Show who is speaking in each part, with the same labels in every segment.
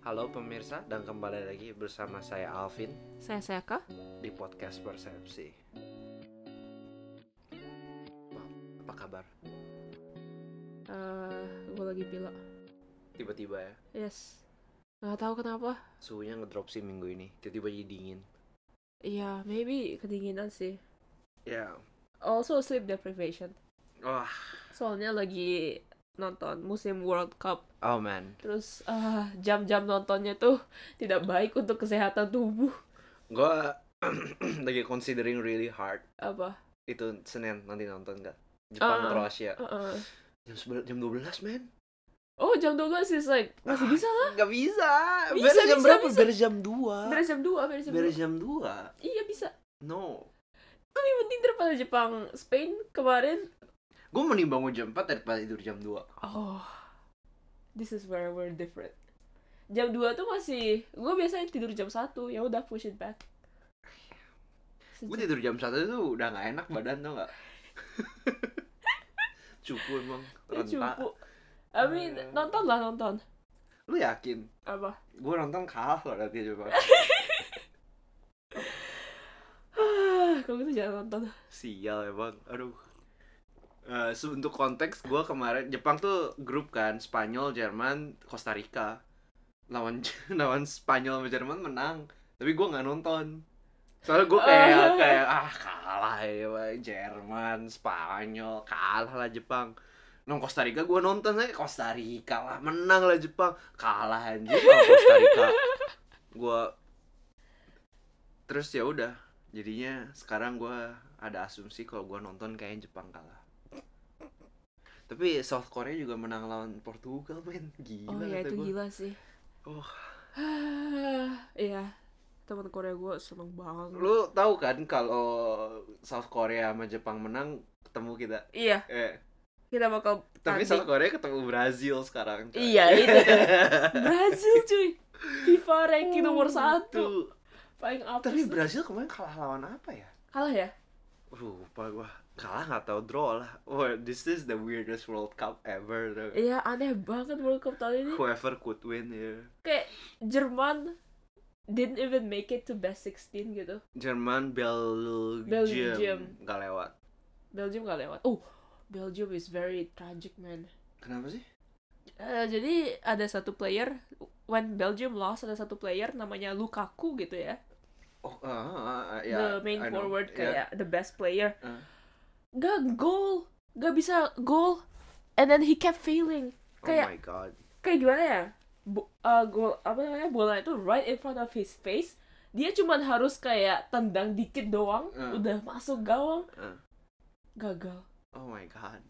Speaker 1: Halo pemirsa dan kembali lagi bersama saya Alvin
Speaker 2: Saya Seka.
Speaker 1: di podcast Persepsi. Wow, apa kabar?
Speaker 2: Eh, gue lagi pilek.
Speaker 1: Tiba-tiba ya,
Speaker 2: Yes. Gak tahu kenapa.
Speaker 1: suhunya ngedrop sih minggu ini. Tiba-tiba jadi dingin.
Speaker 2: Iya, maybe kedinginan sih.
Speaker 1: Ya,
Speaker 2: Also sleep deprivation.
Speaker 1: wah,
Speaker 2: Soalnya lagi nonton musim World Cup.
Speaker 1: oh man,
Speaker 2: Terus ah, jam-jam nontonnya tuh tidak baik untuk kesehatan tubuh.
Speaker 1: gue lagi considering really hard.
Speaker 2: Apa?
Speaker 1: Itu Senin nanti nonton nggak? Jepang
Speaker 2: Ah.
Speaker 1: Kroasia
Speaker 2: Uh-uh.
Speaker 1: jam 11 jam 12 men
Speaker 2: Oh, jam 12 is like masih bisa lah.
Speaker 1: nggak bisa
Speaker 2: Bisa,
Speaker 1: beres jam
Speaker 2: bisa,
Speaker 1: berapa
Speaker 2: bisa.
Speaker 1: beres jam 2
Speaker 2: Beres jam 2, beres jam
Speaker 1: beres
Speaker 2: 2.
Speaker 1: jam 2
Speaker 2: Iya, bisa.
Speaker 1: no
Speaker 2: Lebih penting daripada Jepang Spain kemarin.
Speaker 1: gue mending bangun jam 4 daripada tidur jam 2
Speaker 2: Oh, this is where we're different. Jam 2 tuh masih, gue biasanya tidur jam 1, ya udah push it back.
Speaker 1: gue
Speaker 2: Sejam.
Speaker 1: tidur jam satu itu udah nggak enak badan tau nggak cupu emang
Speaker 2: Ya,
Speaker 1: rentak
Speaker 2: cukup. I mean,
Speaker 1: Eh.
Speaker 2: nonton lah nonton.
Speaker 1: lu yakin
Speaker 2: Apa?
Speaker 1: gue nonton kalah loh nanti coba
Speaker 2: Kalau gitu jangan nonton.
Speaker 1: sial emang aduh Eh, se- untuk konteks gue kemarin Jepang tuh grup kan Spanyol Jerman Costa Rica lawan lawan Spanyol sama Jerman menang tapi gue nggak nonton soalnya gue kayak
Speaker 2: Ah.
Speaker 1: kayak ah kalah ya Pak. Jerman Spanyol kalah lah Jepang nong Costa Rica gue nonton aja Costa Rica lah menang lah Jepang kalah anjir sama Costa Rica gue terus ya udah jadinya sekarang gue ada asumsi kalau gue nonton kayaknya Jepang kalah tapi South Korea juga menang lawan Portugal men gila
Speaker 2: oh
Speaker 1: kata
Speaker 2: ya itu
Speaker 1: gua.
Speaker 2: gila sih.
Speaker 1: Oh.
Speaker 2: Iya, teman Korea gue seneng banget.
Speaker 1: lu tahu kan kalau South Korea sama Jepang menang ketemu kita
Speaker 2: Iya,
Speaker 1: eh
Speaker 2: kita bakal
Speaker 1: tapi South
Speaker 2: tanding.
Speaker 1: Korea ketemu Brazil sekarang coy.
Speaker 2: Iya itu. tuh. Brazil cuy. FIFA ranking nomor satu
Speaker 1: Tuh.
Speaker 2: paling
Speaker 1: Gitu.
Speaker 2: apa?
Speaker 1: tapi Brazil kemarin kalah lawan apa ya Uh,
Speaker 2: kalah ya?
Speaker 1: lupa gua kalah nggak tahu draw lah oh this is the weirdest World Cup ever tau nggak?
Speaker 2: Iya aneh banget World Cup tahun ini
Speaker 1: whoever could win ya
Speaker 2: kayak Jerman didn't even make it to best 16 gitu.
Speaker 1: Jerman
Speaker 2: Belgium.
Speaker 1: Belgium nggak lewat
Speaker 2: Belgium gak lewat. Oh, Belgium is very tragic man.
Speaker 1: kenapa sih
Speaker 2: Eh, jadi ada satu player when Belgium lost ada satu player namanya Lukaku gitu ya.
Speaker 1: oh ah, ah, ah, ya,
Speaker 2: the main
Speaker 1: I know.
Speaker 2: forward
Speaker 1: Ya.
Speaker 2: kayak the best player.
Speaker 1: Ah.
Speaker 2: Gak goal, gak bisa goal. And then he kept failing.
Speaker 1: oh
Speaker 2: kayak-
Speaker 1: my god
Speaker 2: kayak gimana ya Bo- uh, gol apa namanya bola itu right in front of his face dia cuma harus kayak tendang dikit doang
Speaker 1: Hmm.
Speaker 2: udah masuk gawang
Speaker 1: Hmm.
Speaker 2: gagal
Speaker 1: oh my god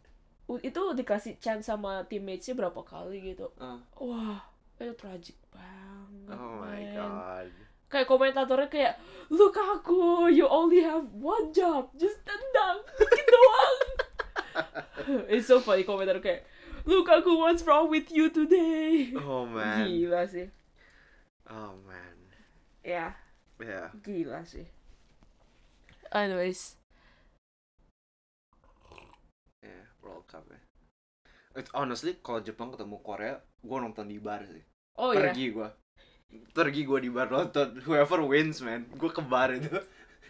Speaker 2: U- itu dikasih chance sama teammates-nya berapa kali gitu
Speaker 1: Ah.
Speaker 2: wah itu tragic banget
Speaker 1: Oh my
Speaker 2: man.
Speaker 1: god.
Speaker 2: kayak komentatornya kayak look aku you only have one job just tendang dikit doang it's so funny komentator kayak look aku what's wrong with you today
Speaker 1: Oh man.
Speaker 2: gila sih
Speaker 1: Oh man.
Speaker 2: ya
Speaker 1: Yeah.
Speaker 2: Gila sih. Anyways,
Speaker 1: Yeah, World Cup ya. It, honestly kalau Jepang ketemu Korea, gua nonton di bar sih.
Speaker 2: oh ya,
Speaker 1: Pergi gua. Pergi gua di bar nonton. Whoever wins man, gua ke bar itu.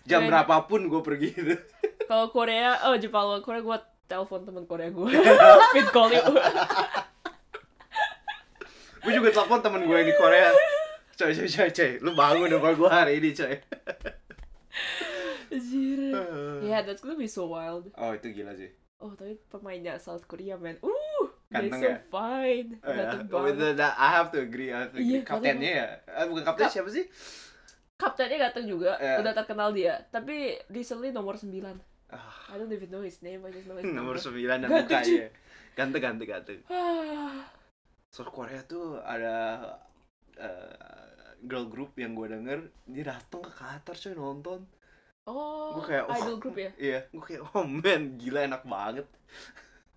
Speaker 1: Jam
Speaker 2: Men.
Speaker 1: berapapun gua pergi itu.
Speaker 2: kalau Korea, oh Jepang lawan Korea, gue telepon teman Korea gue, fit call you.
Speaker 1: Gua juga telepon temen gua yang di Korea. Coy, coy, coy, coy. Lu bangun sama gua hari ini, coy.
Speaker 2: Anjir. Yeah, that's gonna be so wild.
Speaker 1: Oh, itu gila sih.
Speaker 2: Oh, tapi pemainnya South Korea, man. Uh, they're
Speaker 1: Ganteng
Speaker 2: so
Speaker 1: ya?
Speaker 2: fine.
Speaker 1: Oh, ya.
Speaker 2: Ganteng
Speaker 1: With
Speaker 2: banget.
Speaker 1: the- that, I have to agree, I have to agree.
Speaker 2: Iya,
Speaker 1: Kaptennya ya? Eh, bukan kapten
Speaker 2: Kap-
Speaker 1: siapa sih?
Speaker 2: Kaptennya ganteng juga,
Speaker 1: Yeah.
Speaker 2: udah terkenal dia. Tapi recently nomor 9.
Speaker 1: Ah.
Speaker 2: I don't even know his name, I just know his
Speaker 1: Hmm, Nomor
Speaker 2: number.
Speaker 1: 9 dan
Speaker 2: Ganteng, cuy.
Speaker 1: mukanya. Ganteng, ganteng, ganteng.
Speaker 2: Ah,
Speaker 1: South Korea tuh ada eh, girl group yang gue denger dia datang ke Qatar coy nonton
Speaker 2: oh,
Speaker 1: gue kayak oh,
Speaker 2: idol group ya?
Speaker 1: iya gue kayak oh man gila enak banget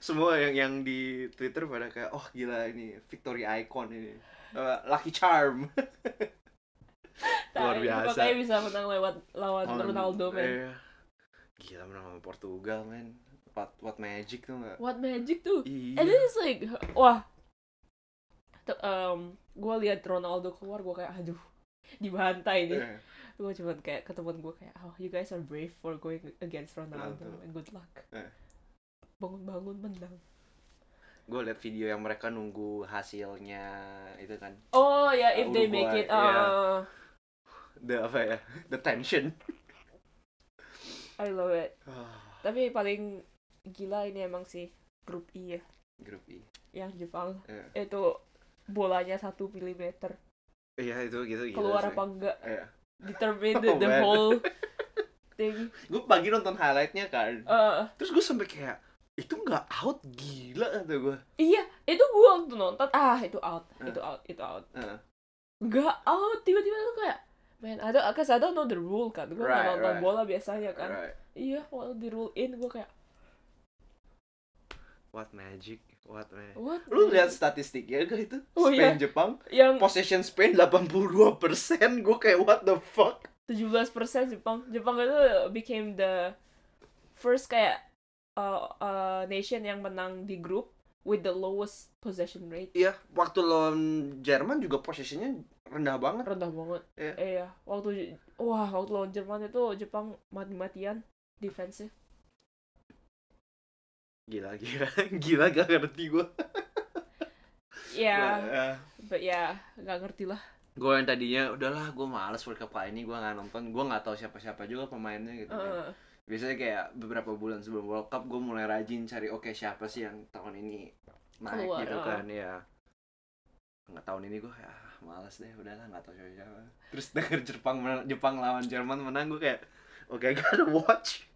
Speaker 1: semua yang yang di Twitter pada kayak oh gila ini victory icon ini Eh, lucky charm Luar
Speaker 2: Tai,
Speaker 1: biasa.
Speaker 2: Nah, Makanya bisa menang lewat lawan Ronaldo, man.
Speaker 1: Iya. gila menang sama Portugal man what what magic tuh nggak
Speaker 2: What magic tuh?
Speaker 1: iya
Speaker 2: And then it's like, wah. te- um, gue lihat Ronaldo keluar gue kayak aduh dibantai nih
Speaker 1: Eh,
Speaker 2: gue cuman kayak ke teman gue kayak oh you guys are brave for going against Ronaldo
Speaker 1: Ronaldo.
Speaker 2: and good luck
Speaker 1: Eh.
Speaker 2: bangun-bangun menang
Speaker 1: gue liat video yang mereka nunggu hasilnya itu kan
Speaker 2: oh ya
Speaker 1: if
Speaker 2: if
Speaker 1: they Uruguay,
Speaker 2: they make
Speaker 1: make it,
Speaker 2: it Oh,
Speaker 1: ya. the apa ya the tension
Speaker 2: I love it
Speaker 1: Ah,
Speaker 2: tapi paling gila ini emang sih grup I ya
Speaker 1: grup I
Speaker 2: yang Jepang
Speaker 1: Eh,
Speaker 2: itu bolanya satu milimeter
Speaker 1: iya itu gitu gitu
Speaker 2: keluar apa enggak determine
Speaker 1: Oh,
Speaker 2: the
Speaker 1: man.
Speaker 2: whole thing
Speaker 1: gue pagi nonton highlightnya kan
Speaker 2: Eh,
Speaker 1: terus gue sampai kayak itu nggak out gila kata gue
Speaker 2: iya itu gua waktu nonton ah itu out
Speaker 1: Eh.
Speaker 2: itu out itu out
Speaker 1: Eh.
Speaker 2: nggak out tiba-tiba tuh kayak man I don't cause I don't know the rule kan gua nggak
Speaker 1: Right,
Speaker 2: nonton
Speaker 1: right.
Speaker 2: bola biasanya kan
Speaker 1: Alright.
Speaker 2: iya waktu di rule in gua kayak
Speaker 1: what magic what magic
Speaker 2: what
Speaker 1: lu lihat statistiknya gak itu
Speaker 2: Oh,
Speaker 1: Spain
Speaker 2: iya.
Speaker 1: Jepang
Speaker 2: yang
Speaker 1: possession Spain 82 persen gue kayak what the fuck
Speaker 2: 17% Jepang Jepang itu became the first kayak uh, uh, nation yang menang di grup with the lowest possession rate
Speaker 1: iya waktu lawan Jerman juga possessionnya rendah banget
Speaker 2: rendah banget
Speaker 1: Iya.
Speaker 2: iya waktu wah waktu lawan Jerman itu Jepang mati-matian defensive
Speaker 1: gila gila gila gak ngerti gue
Speaker 2: ya
Speaker 1: Iya.
Speaker 2: but ya nggak ngerti lah
Speaker 1: gue yang tadinya udahlah gue males World Cup kali ini gue nggak nonton gue nggak tahu siapa-siapa juga pemainnya gitu kan.
Speaker 2: Heeh.
Speaker 1: biasanya kayak beberapa bulan sebelum World Cup gue mulai rajin cari oke siapa sih yang tahun ini naik
Speaker 2: Keluar,
Speaker 1: gitu
Speaker 2: ah.
Speaker 1: kan ya nggak tahun ini gue kayak ah, malas deh udahlah nggak tahu siapa siapa terus denger Jepang menang- Jepang lawan Jerman menang gue kayak oke I gotta watch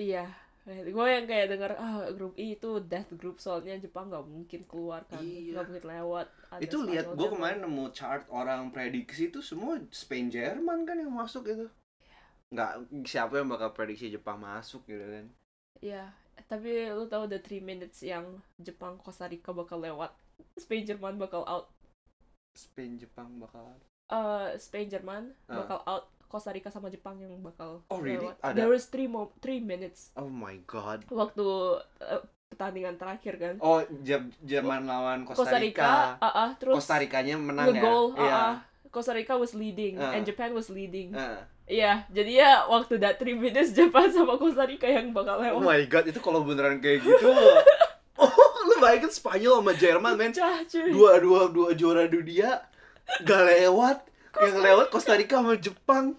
Speaker 2: iya gue yang kayak denger ah grup I itu death group soalnya Jepang nggak mungkin keluar kan
Speaker 1: Iya.
Speaker 2: nggak mungkin lewat Ada
Speaker 1: itu lihat
Speaker 2: Spanyol,
Speaker 1: gue
Speaker 2: Jerman.
Speaker 1: kemarin nemu chart orang prediksi itu semua Spain Jerman kan yang masuk gitu
Speaker 2: Iya.
Speaker 1: nggak siapa yang bakal prediksi Jepang masuk gitu kan
Speaker 2: iya tapi lu tahu the three minutes yang Jepang Costa Rica bakal lewat Spain Jerman bakal out
Speaker 1: Spain Jepang bakal
Speaker 2: Eh, Spain Jerman
Speaker 1: Ah.
Speaker 2: bakal out Costa Rica sama Jepang yang bakal
Speaker 1: Oh, really?
Speaker 2: lewat
Speaker 1: Ada?
Speaker 2: there was three mo three minutes
Speaker 1: oh my god
Speaker 2: waktu eh, pertandingan terakhir kan
Speaker 1: oh Jep- Jerman lawan
Speaker 2: Costa Rica, ah, ah, terus
Speaker 1: Oh, Costa Ricanya menang ya.
Speaker 2: nge-goal,
Speaker 1: Iya.
Speaker 2: uh-uh. Costa Rica was leading
Speaker 1: Ah.
Speaker 2: and Japan was leading. Iya,
Speaker 1: Heeh.
Speaker 2: jadi ya waktu that 3 minutes Japan sama Costa Rica yang bakal
Speaker 1: Oh
Speaker 2: lewat.
Speaker 1: my god, itu kalau beneran kayak gitu. oh, lu bayangin Spanyol sama Jerman, men.
Speaker 2: Pecah, cuy.
Speaker 1: Dua dua dua juara dunia gak lewat. Yang lewat Costa Rica sama Jepang.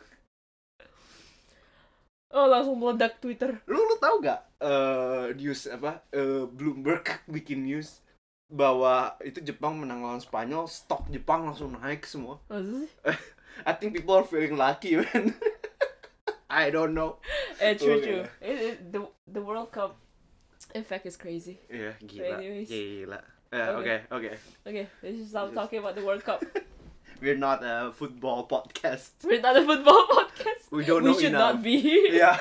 Speaker 2: Oh, langsung meledak Twitter.
Speaker 1: Lu lu tahu gak eh, news apa? eh, Bloomberg bikin news bahwa itu Jepang menang lawan Spanyol, stok Jepang langsung naik semua.
Speaker 2: Maksud sih?
Speaker 1: I think people are feeling lucky, man. I don't know.
Speaker 2: Eh, true,
Speaker 1: Oke.
Speaker 2: true. It- it- the, the World Cup effect is crazy.
Speaker 1: Iya, gila.
Speaker 2: Anyways.
Speaker 1: Gila. Eh, oke,
Speaker 2: Oke.
Speaker 1: oke.
Speaker 2: Okay, let's just stop talking about the World Cup.
Speaker 1: We're not a football podcast.
Speaker 2: We're not a football podcast.
Speaker 1: We don't
Speaker 2: we
Speaker 1: know
Speaker 2: should
Speaker 1: enough.
Speaker 2: not be.
Speaker 1: yeah,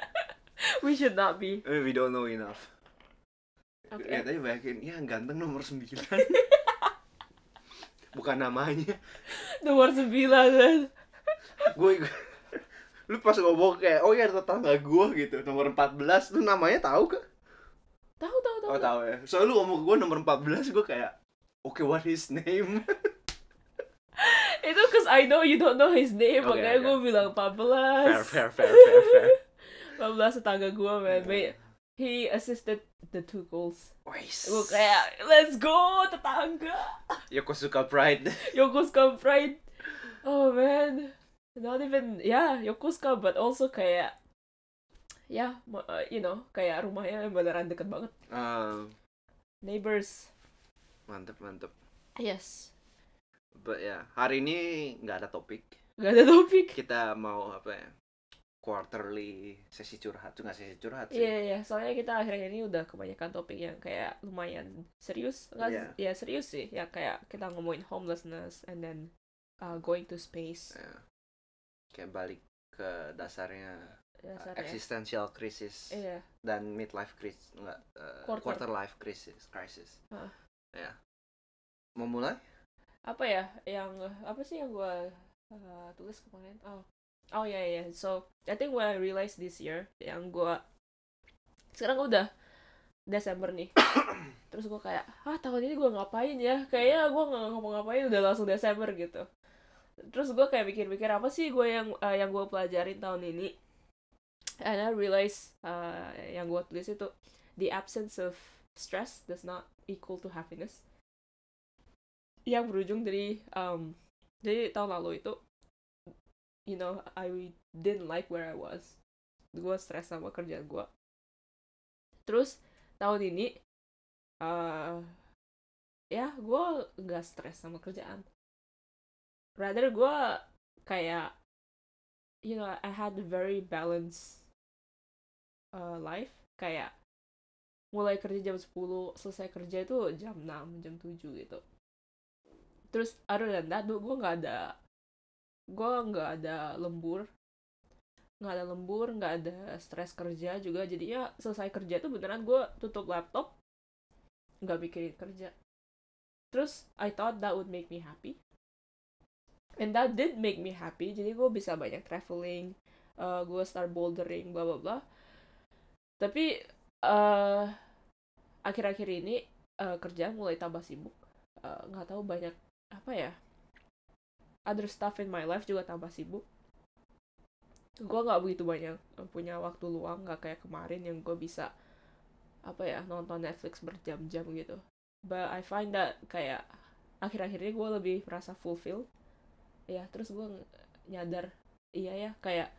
Speaker 2: we should not be.
Speaker 1: we don't know enough. Ya
Speaker 2: Okay.
Speaker 1: tadi bayangin, ya ganteng nomor 9 Bukan namanya.
Speaker 2: The World 9.
Speaker 1: Gue lu pas ngomong kayak oh ya tetangga gue gitu nomor 14 lu namanya tahu ke?
Speaker 2: Tahu, tahu, tahu.
Speaker 1: Oh tahu ya. Soalnya lu ngomong ke gue nomor 14 gue kayak oke what his name?
Speaker 2: Itu cause I know you don't know his name,
Speaker 1: Okay,
Speaker 2: makanya
Speaker 1: okay.
Speaker 2: gue bilang 14.
Speaker 1: fair fair fair fair fair.
Speaker 2: 15 tetangga gue, man. Ba- He assisted the two goals.
Speaker 1: Wais.
Speaker 2: Gue kayak, let's go tetangga.
Speaker 1: Yokosuka Ya, Pride.
Speaker 2: Yokosuka Pride. Oh, man. Not even, yeah, Yokosuka, but also kayak, yeah, mo- uh, you know, kayak rumahnya beneran deket banget.
Speaker 1: Ah,
Speaker 2: Neighbors.
Speaker 1: mantep mantep.
Speaker 2: Yes.
Speaker 1: But ya hari ini nggak ada topik.
Speaker 2: Gak ada topik.
Speaker 1: Kita mau apa ya? Quarterly sesi curhat tuh nggak sesi curhat
Speaker 2: Iya,
Speaker 1: sih.
Speaker 2: iya, iya. soalnya kita akhirnya ini udah kebanyakan topik yang kayak lumayan serius, nggak
Speaker 1: Iya.
Speaker 2: ya serius sih, ya kayak kita ngomongin homelessness and then uh, going to space,
Speaker 1: Ya. Kayak balik ke dasarnya uh,
Speaker 2: dasarnya.
Speaker 1: existential crisis
Speaker 2: Ya, Iya,
Speaker 1: dan midlife crisis enggak uh,
Speaker 2: Quarter.
Speaker 1: quarter life crisis crisis.
Speaker 2: Heeh.
Speaker 1: Ya. Mau mulai?
Speaker 2: apa ya yang apa sih yang gua uh, tulis kemarin? Oh, oh ya ya. So I think what I realized this year yang gua sekarang gua udah Desember nih terus gue kayak ah tahun ini gue ngapain ya kayaknya gue nggak ngapa-ngapain udah langsung Desember gitu terus gue kayak mikir-mikir apa sih gue yang eh, yang gue pelajarin tahun ini and I realize eh, yang gue tulis itu the absence of stress does not equal to happiness yang berujung dari um, jadi tahun lalu itu you know I didn't like where I was gue stres sama kerjaan gue terus tahun ini eh ya gue nggak stres sama kerjaan rather gue kayak you know I had a very balanced uh, life kayak mulai kerja jam 10 selesai kerja itu jam 6 jam 7 gitu terus other than that gue nggak ada gue nggak ada lembur nggak ada lembur nggak ada stres kerja juga jadinya selesai kerja tuh beneran gue tutup laptop nggak mikirin kerja terus I thought that would make me happy and that did make me happy jadi gue bisa banyak traveling eh, gue start bouldering bla bla bla tapi eh, akhir-akhir ini eh, kerjaan mulai tambah sibuk Eh, nggak tahu banyak apa ya other stuff in my life juga tambah sibuk gue nggak begitu banyak eh, punya waktu luang nggak kayak kemarin yang gue bisa apa ya nonton Netflix berjam-jam gitu but I find that kayak akhir-akhir ini gue lebih merasa fulfill ya terus gue nyadar iya ya kayak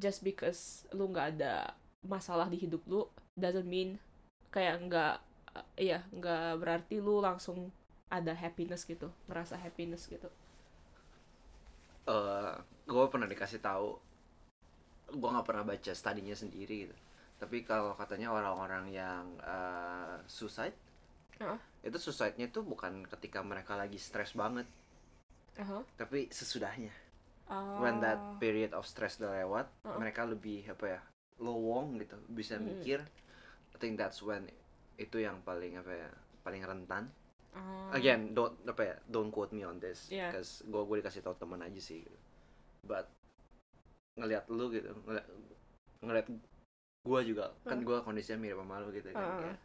Speaker 2: just because lu nggak ada masalah di hidup lu doesn't mean kayak nggak uh, iya nggak berarti lu langsung ada happiness gitu merasa happiness gitu
Speaker 1: eh gue pernah dikasih tahu gue nggak pernah baca studinya sendiri gitu tapi kalau katanya orang-orang yang eh, suicide
Speaker 2: Heeh.
Speaker 1: itu suicide-nya itu bukan ketika mereka lagi stres banget
Speaker 2: Aha.
Speaker 1: tapi sesudahnya when that period of stress udah lewat
Speaker 2: Oh. Heeh.
Speaker 1: mereka lebih apa ya lowong gitu bisa
Speaker 2: Mm.
Speaker 1: mikir I think that's when itu yang paling apa ya paling rentan
Speaker 2: Ah.
Speaker 1: again don't apa ya don't quote me on this
Speaker 2: Yeah.
Speaker 1: because gue gue dikasih tau teman aja sih gitu. but ngelihat lu gitu ngelihat ngelihat gue juga kan
Speaker 2: Hmm.
Speaker 1: gue kondisinya mirip sama lu gitu kan
Speaker 2: Ah.
Speaker 1: kayak,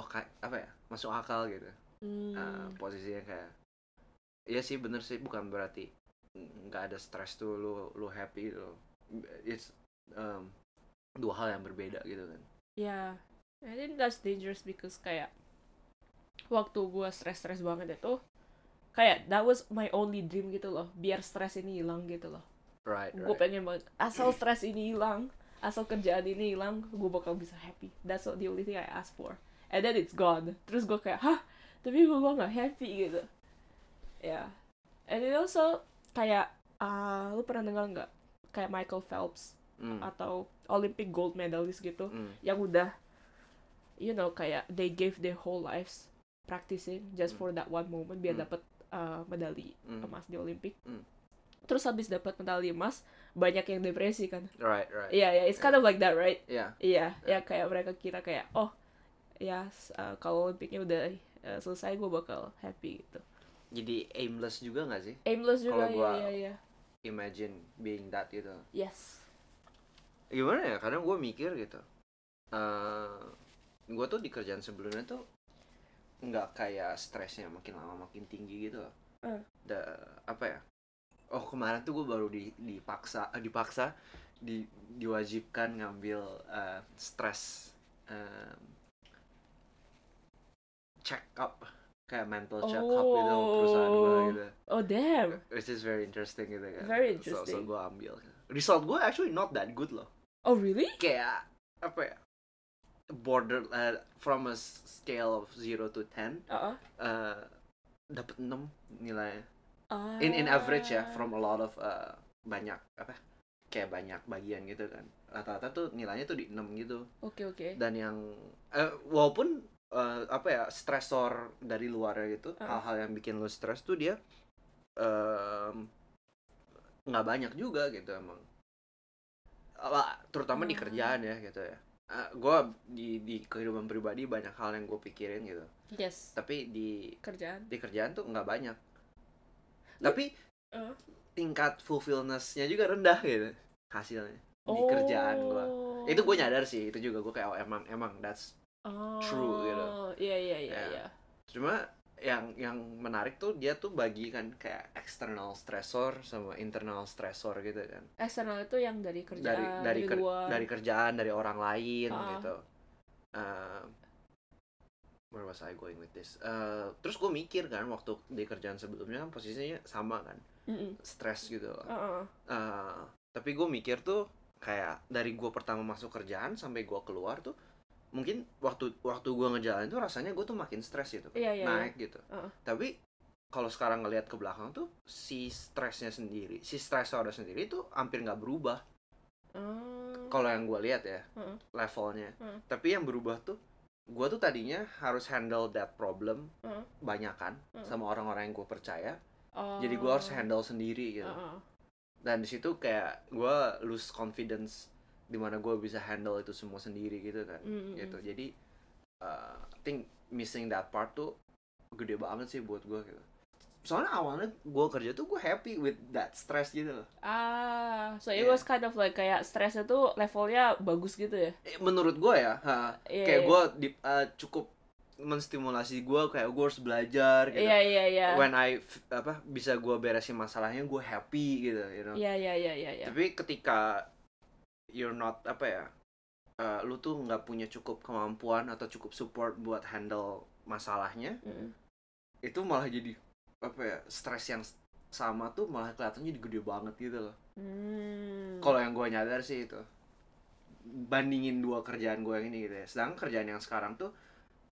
Speaker 1: oh kayak apa ya masuk akal gitu
Speaker 2: Hmm.
Speaker 1: Nah, posisinya kayak iya sih bener sih bukan berarti nggak ada stres tuh lu lu happy lo it's um, dua hal yang berbeda gitu kan
Speaker 2: Yeah, ya. I think that's dangerous because kayak waktu gua stres-stres banget itu kayak that was my only dream gitu loh biar stres ini hilang gitu loh
Speaker 1: right
Speaker 2: gue
Speaker 1: right
Speaker 2: pengen banget asal stres ini hilang asal kerjaan ini hilang gue bakal bisa happy that's what the only thing I ask for and then it's gone terus gue kayak hah tapi gue gak happy gitu ya yeah. and it also kayak ah lu pernah dengar nggak kayak Michael Phelps
Speaker 1: Mm,
Speaker 2: atau Olympic gold medalist gitu
Speaker 1: mm,
Speaker 2: yang udah you know kayak they gave their whole lives practicing just for that one moment biar
Speaker 1: Hmm.
Speaker 2: dapat uh, medali
Speaker 1: mm.
Speaker 2: emas di Olimpik.
Speaker 1: Hmm.
Speaker 2: Terus habis dapat medali emas banyak yang depresi kan?
Speaker 1: right right
Speaker 2: Iya ya, it's kind of like that right?
Speaker 1: yeah
Speaker 2: Iya, ya kayak mereka kira kayak oh ya s- uh, kalau Olimpiknya udah uh, selesai gue bakal happy gitu.
Speaker 1: jadi aimless juga nggak sih
Speaker 2: Aimless juga
Speaker 1: Kalau gua-
Speaker 2: ya ya ya.
Speaker 1: imagine being that gitu
Speaker 2: Yes.
Speaker 1: gimana ya kadang gue mikir gitu eh gue tuh di kerjaan sebelumnya tuh nggak kayak stresnya makin lama makin tinggi gitu loh
Speaker 2: Eh.
Speaker 1: Da- apa ya oh kemarin tuh gue baru di- dipaksa eh, dipaksa di- diwajibkan ngambil eh, stress eh, check up kayak mental check up gitu sama perusahaan gue
Speaker 2: Oh.
Speaker 1: gitu
Speaker 2: Oh damn.
Speaker 1: which is very interesting gitu kan
Speaker 2: Very
Speaker 1: So- so,
Speaker 2: interesting.
Speaker 1: gue ambil result gue actually not that good loh
Speaker 2: Oh really?
Speaker 1: kayak apa ya border uh, from a s- scale of 0 to 10
Speaker 2: Uh-uh.
Speaker 1: uh, dapat 6 nilai in in average ya from a lot of uh, banyak apa kayak banyak bagian gitu kan rata-rata tuh nilainya tuh di 6 gitu
Speaker 2: Oke oke.
Speaker 1: dan yang eh, walaupun eh, apa ya stresor dari luar gitu
Speaker 2: Uh-uh.
Speaker 1: hal-hal yang bikin lo stres tuh dia em, nggak banyak juga gitu emang Apa, terutama di
Speaker 2: Hmm.
Speaker 1: kerjaan ya gitu ya gue di di kehidupan pribadi banyak hal yang gue pikirin gitu
Speaker 2: Yes.
Speaker 1: tapi di
Speaker 2: Kerjaan.
Speaker 1: di kerjaan tuh nggak banyak
Speaker 2: Lu-
Speaker 1: tapi
Speaker 2: Eh.
Speaker 1: tingkat fulfillnessnya juga rendah gitu
Speaker 2: Oh.
Speaker 1: hasilnya di kerjaan gue itu gue nyadar sih itu juga gue kayak oh, emang emang that's
Speaker 2: Oh,
Speaker 1: True, gitu.
Speaker 2: Iya iya iya
Speaker 1: Ya.
Speaker 2: iya.
Speaker 1: cuma yang yang menarik tuh dia tuh bagi kan kayak external stressor sama internal stressor gitu kan
Speaker 2: Eksternal itu yang dari kerjaan
Speaker 1: dari dari ker-
Speaker 2: luar.
Speaker 1: dari kerjaan dari orang lain
Speaker 2: Ah.
Speaker 1: gitu Um, where was I going with this Uh, terus gue mikir kan waktu di kerjaan sebelumnya kan posisinya sama kan
Speaker 2: Mm-mm.
Speaker 1: stres gitu loh.
Speaker 2: Uh-uh.
Speaker 1: Uh, tapi gue mikir tuh kayak dari gue pertama masuk kerjaan sampai gue keluar tuh mungkin waktu waktu gue ngejalanin tuh rasanya gue tuh makin stres gitu
Speaker 2: Iya iya. iya.
Speaker 1: naik gitu.
Speaker 2: Heeh.
Speaker 1: Tapi kalau sekarang ngelihat ke belakang tuh si stresnya sendiri, si stresornya sendiri tuh hampir nggak berubah.
Speaker 2: Hmm.
Speaker 1: Kalau yang gue lihat ya
Speaker 2: Heeh.
Speaker 1: levelnya.
Speaker 2: Heeh.
Speaker 1: Tapi yang berubah tuh gue tuh tadinya harus handle that problem
Speaker 2: Heeh.
Speaker 1: banyakan
Speaker 2: Heeh.
Speaker 1: sama orang-orang yang gue percaya.
Speaker 2: Hmm. Oh.
Speaker 1: Jadi gue harus handle sendiri gitu.
Speaker 2: Uh-uh.
Speaker 1: Dan di situ kayak gue lose confidence dimana gue bisa handle itu semua sendiri gitu kan.
Speaker 2: Mm-mm.
Speaker 1: Gitu. Jadi uh, I think missing that part tuh gede banget sih buat gue gitu. Soalnya awalnya gue kerja tuh gue happy with that stress gitu loh.
Speaker 2: Ah, so it
Speaker 1: Yeah.
Speaker 2: was kind of like kayak stresnya tuh levelnya bagus gitu ya.
Speaker 1: Eh, Menurut gue ya, ha,
Speaker 2: Iya,
Speaker 1: kayak
Speaker 2: iya.
Speaker 1: gue di- uh, cukup menstimulasi gue kayak gue harus belajar gitu.
Speaker 2: Iya iya iya.
Speaker 1: When I f- apa bisa gue beresin masalahnya gue happy gitu, you know.
Speaker 2: Iya iya iya iya. iya.
Speaker 1: Tapi ketika you're not apa ya, uh, lu tuh nggak punya cukup kemampuan atau cukup support buat handle masalahnya,
Speaker 2: Mm-mm.
Speaker 1: itu malah jadi apa ya stres yang s- sama tuh malah kelihatannya jadi gede banget gitu loh
Speaker 2: Hmm.
Speaker 1: kalau yang gue nyadar sih itu bandingin dua kerjaan gue yang ini gitu ya sedangkan kerjaan yang sekarang tuh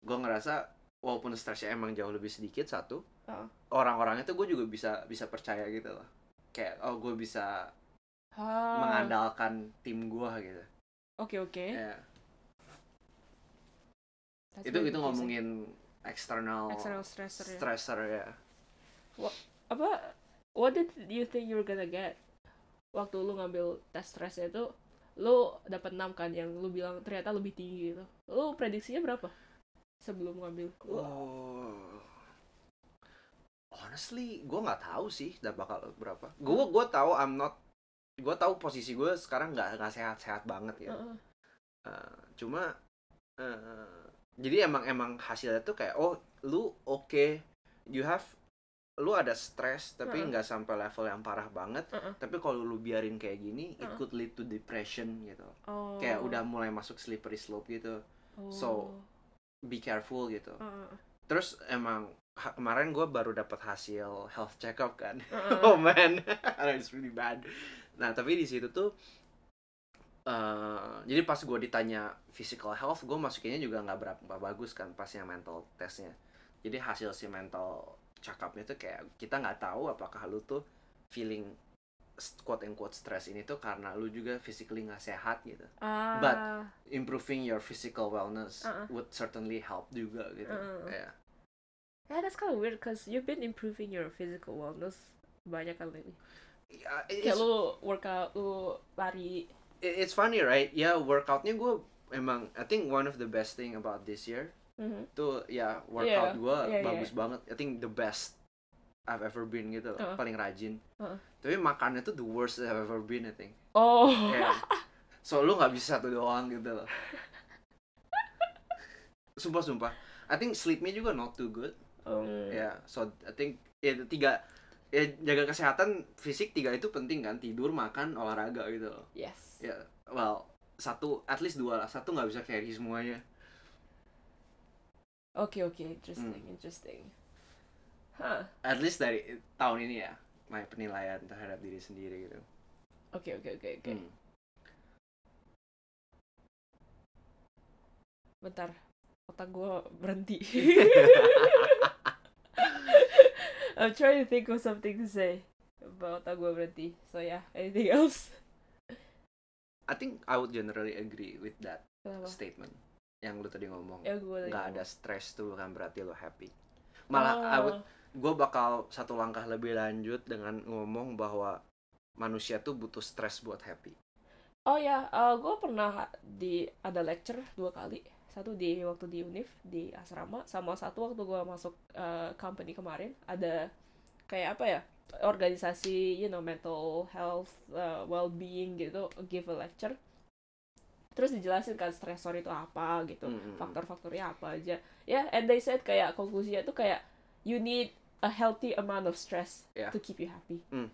Speaker 1: gue ngerasa walaupun stresnya emang jauh lebih sedikit satu
Speaker 2: Heeh.
Speaker 1: orang-orangnya tuh gue juga bisa bisa percaya gitu loh kayak oh gue bisa
Speaker 2: Ah.
Speaker 1: mengandalkan tim gue gitu
Speaker 2: Oke oke.
Speaker 1: ya
Speaker 2: That's
Speaker 1: itu
Speaker 2: very
Speaker 1: itu
Speaker 2: interesting.
Speaker 1: ngomongin external,
Speaker 2: external stressor ya.
Speaker 1: stressor ya
Speaker 2: Apa? What did you think you were gonna get? Waktu lu ngambil tes stressnya itu, lu dapat 6 kan yang lu bilang ternyata lebih tinggi gitu. Lu prediksinya berapa? Sebelum ngambil. Lu-
Speaker 1: Oh. Honestly, gue nggak tahu sih dan bakal berapa. Gue gue tahu I'm not gue tahu posisi gue sekarang nggak nggak sehat-sehat banget ya.
Speaker 2: Heeh.
Speaker 1: Eh, cuma eh, jadi emang emang hasilnya tuh kayak oh lu oke you have lu ada stres tapi
Speaker 2: Heeh.
Speaker 1: nggak sampai level yang parah banget.
Speaker 2: Heeh.
Speaker 1: Tapi kalau lu biarin kayak gini it
Speaker 2: Heeh.
Speaker 1: could lead to depression gitu.
Speaker 2: Oh.
Speaker 1: Kayak udah mulai masuk slippery slope gitu. so- Be careful gitu.
Speaker 2: Oh. Heeh.
Speaker 1: terus emang ha- kemarin gue baru dapat hasil health check up kan
Speaker 2: Heeh.
Speaker 1: oh man that's really bad nah tapi di situ tuh eh, jadi pas gue ditanya physical health gue masukinnya juga nggak berapa nggak bagus kan pas yang mental testnya jadi hasil si mental check upnya tuh kayak kita nggak tahu apakah lu tuh feeling s- quote and quote stress ini tuh karena lu juga physically nggak sehat gitu
Speaker 2: Ah.
Speaker 1: But, improving your physical wellness
Speaker 2: Uh-uh.
Speaker 1: would certainly help juga gitu
Speaker 2: Uh-uh.
Speaker 1: ya
Speaker 2: Yeah, that's kind of weird because you've been improving your physical wellness banyak kan lately.
Speaker 1: Ya,
Speaker 2: Kayak
Speaker 1: it's-
Speaker 2: lu workout, lu lari.
Speaker 1: it- it's funny right ya workoutnya gue emang I think one of the best thing about this year
Speaker 2: Mhm.
Speaker 1: tuh ya workout
Speaker 2: Yeah,
Speaker 1: gue
Speaker 2: yeah, yeah.
Speaker 1: bagus banget I think the best I've ever been gitu loh,
Speaker 2: Uh-uh.
Speaker 1: paling rajin
Speaker 2: Uh-uh.
Speaker 1: tapi makannya tuh the worst I've ever been I think
Speaker 2: Oh.
Speaker 1: yeah. so lu nggak bisa satu doang gitu loh sumpah sumpah I think sleepnya juga not too good
Speaker 2: Um,
Speaker 1: ya so I think ya tiga ya jaga kesehatan fisik tiga itu penting kan tidur makan olahraga gitu loh
Speaker 2: Yes.
Speaker 1: Ya, well, satu, at least dua lah. Satu nggak bisa carry semuanya.
Speaker 2: Oke oke, interesting,
Speaker 1: Mm.
Speaker 2: interesting. Hah.
Speaker 1: At least dari tahun ini ya, my penilaian terhadap diri sendiri gitu.
Speaker 2: Oke oke oke oke.
Speaker 1: Hmm.
Speaker 2: Bentar. Otak gua berhenti. I'm trying to think of something to say. But otak gua berhenti. So yeah, anything else?
Speaker 1: I think I would generally agree with that
Speaker 2: Kenapa?
Speaker 1: statement yang lu tadi ngomong.
Speaker 2: Ya gua
Speaker 1: Nggak ada stress tuh bukan berarti lu happy. Malah I
Speaker 2: Oh.
Speaker 1: would, gue bakal satu langkah lebih lanjut dengan ngomong bahwa manusia tuh butuh stres buat happy.
Speaker 2: Oh ya, eh gue pernah di ada lecture dua kali. Satu di waktu di Unif di asrama, sama satu waktu gue masuk eh, company kemarin ada kayak apa ya organisasi, you know, mental health, eh, well-being gitu, give a lecture. terus dijelasin kan stresor itu apa gitu
Speaker 1: Mm, mm, mm.
Speaker 2: faktor-faktornya apa aja ya and they said kayak konklusinya tuh kayak you need a healthy amount of stress
Speaker 1: Yeah.
Speaker 2: to keep you happy
Speaker 1: Mm.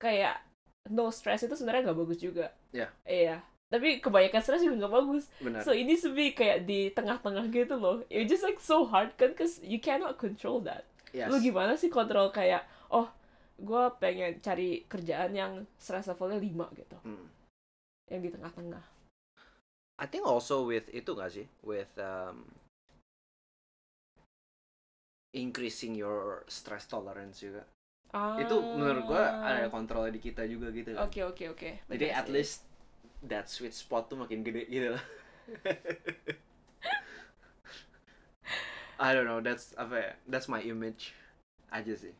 Speaker 2: kayak no stress itu sebenarnya nggak bagus juga
Speaker 1: Yeah.
Speaker 2: iya tapi kebanyakan stress juga nggak bagus
Speaker 1: benar
Speaker 2: so ini sebi kayak di tengah-tengah gitu loh it just like so hard kan cause you cannot control that
Speaker 1: yes.
Speaker 2: lu gimana sih kontrol kayak oh gue pengen cari kerjaan yang stress levelnya 5 gitu
Speaker 1: Mm.
Speaker 2: yang di tengah-tengah
Speaker 1: I think also with itu gak sih with um, increasing your stress tolerance juga
Speaker 2: ah.
Speaker 1: itu menurut gua ada kontrol di kita juga gitu kan
Speaker 2: oke oke oke
Speaker 1: jadi
Speaker 2: Betul
Speaker 1: at
Speaker 2: sih.
Speaker 1: least that sweet spot tuh makin gede gitu lah I don't know that's apa ya that's my image aja sih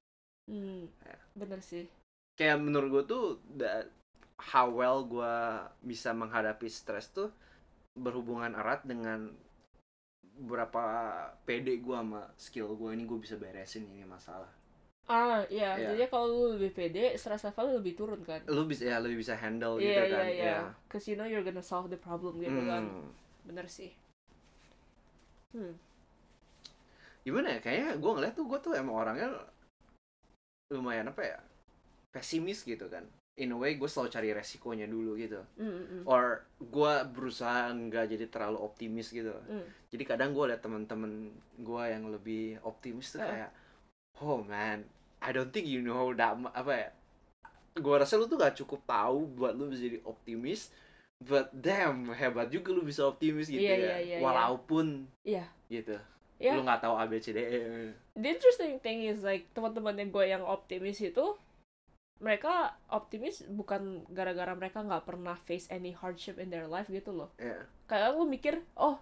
Speaker 2: hmm,
Speaker 1: Ya.
Speaker 2: bener sih
Speaker 1: kayak menurut gue tuh da- how well gue bisa menghadapi stres tuh berhubungan erat dengan berapa pede gue sama skill gue ini gue bisa beresin ini masalah
Speaker 2: ah iya
Speaker 1: Ya.
Speaker 2: jadi kalau lu lebih pede stress level lu lebih turun kan
Speaker 1: lu bisa ya lebih bisa handle gitu
Speaker 2: iya
Speaker 1: kan
Speaker 2: iya iya
Speaker 1: ya
Speaker 2: cause you know you're gonna solve the problem gitu kan
Speaker 1: Hmm.
Speaker 2: bener sih hmm.
Speaker 1: gimana ya kayaknya gue ngeliat tuh gue tuh emang orangnya lumayan apa ya pesimis gitu kan in a way gue selalu cari resikonya dulu gitu
Speaker 2: Mm, mm, mm.
Speaker 1: or gue berusaha nggak jadi terlalu optimis gitu
Speaker 2: Mm.
Speaker 1: jadi kadang gue liat teman-teman gue yang lebih optimis tuh
Speaker 2: Heeh.
Speaker 1: kayak oh man I don't think you know that mu- apa ya gue rasa lu tuh gak cukup tahu buat lu bisa jadi optimis but damn hebat juga lu bisa optimis gitu
Speaker 2: Iya,
Speaker 1: ya
Speaker 2: iya, iya, iya.
Speaker 1: walaupun
Speaker 2: Iya.
Speaker 1: gitu
Speaker 2: Iya.
Speaker 1: lu nggak tahu A B C D E
Speaker 2: the interesting thing is like teman-teman yang gue yang optimis itu mereka optimis bukan gara-gara mereka nggak pernah face any hardship in their life gitu loh
Speaker 1: Iya.
Speaker 2: kayak gue mikir oh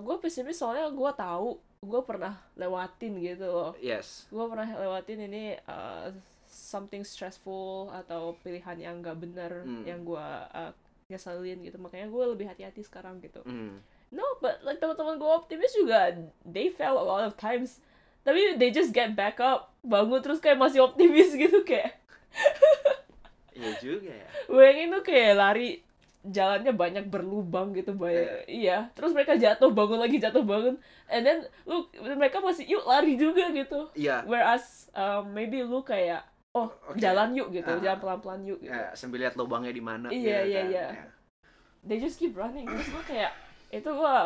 Speaker 2: gue pesimis soalnya gue tahu gue pernah lewatin gitu loh
Speaker 1: yes
Speaker 2: gue pernah lewatin ini uh, something stressful atau pilihan yang nggak bener
Speaker 1: Hmm.
Speaker 2: yang gue uh, nyeselin gitu makanya gue lebih hati-hati sekarang gitu
Speaker 1: Hmm.
Speaker 2: No, but like teman-teman gue optimis juga, they fell a lot of times. Tapi they just get back up, bangun terus kayak masih optimis gitu kayak.
Speaker 1: iya juga ya
Speaker 2: Bayangin tuh kayak lari jalannya banyak berlubang gitu banyak. Iya, terus mereka jatuh bangun lagi jatuh bangun, and then lu mereka masih yuk lari juga gitu.
Speaker 1: iya
Speaker 2: Whereas um, maybe lu kayak oh
Speaker 1: Oke.
Speaker 2: jalan yuk gitu,
Speaker 1: Ah.
Speaker 2: jalan pelan-pelan yuk gitu.
Speaker 1: ya, sambil lihat lubangnya di mana
Speaker 2: Iya,
Speaker 1: gitu
Speaker 2: iya,
Speaker 1: kan.
Speaker 2: iya.
Speaker 1: Ya.
Speaker 2: They just keep running. Terus gue kayak itu gue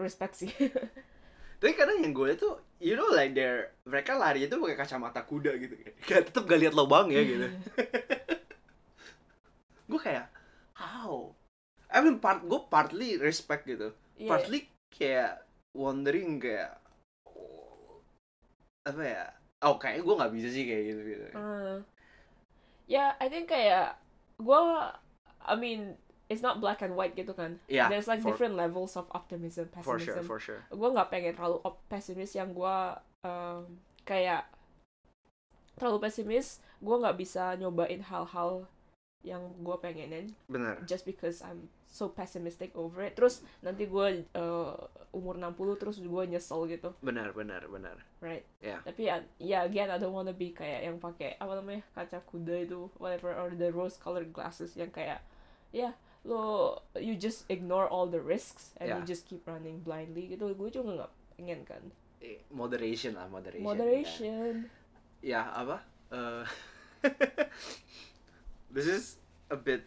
Speaker 2: respect sih.
Speaker 1: tapi kadang yang gue liat tuh you know like they're mereka lari itu pakai kacamata kuda gitu kayak tetep gak lihat lubang ya gitu gue kayak how I mean part gue partly respect gitu
Speaker 2: Iya.
Speaker 1: partly kayak wondering kayak oh, apa ya oh kayaknya gue nggak bisa sih kayak gitu gitu
Speaker 2: Uh, yeah, I think kayak gua I mean, it's not black and white gitu kan.
Speaker 1: ya
Speaker 2: There's like
Speaker 1: for,
Speaker 2: different levels of optimism, pessimism.
Speaker 1: for sure for sure
Speaker 2: Gua nggak pengen terlalu op- pesimis yang gua um, kayak terlalu pesimis, gua nggak bisa nyobain hal-hal yang gua pengenin
Speaker 1: benar
Speaker 2: just because I'm so pessimistic over it. Terus nanti gua uh, umur 60 terus gua nyesel gitu,
Speaker 1: benar benar benar
Speaker 2: right?
Speaker 1: Yeah.
Speaker 2: Tapi ya yeah, again I don't wanna be kayak yang pakai apa namanya kaca kuda itu whatever or the rose colored glasses yang kayak ya lo you just ignore all the risks and you
Speaker 1: Yeah.
Speaker 2: just keep running blindly gitu gue juga nggak pengen kan
Speaker 1: Eh, moderation lah moderation
Speaker 2: moderation
Speaker 1: ya apa Eh, this is a bit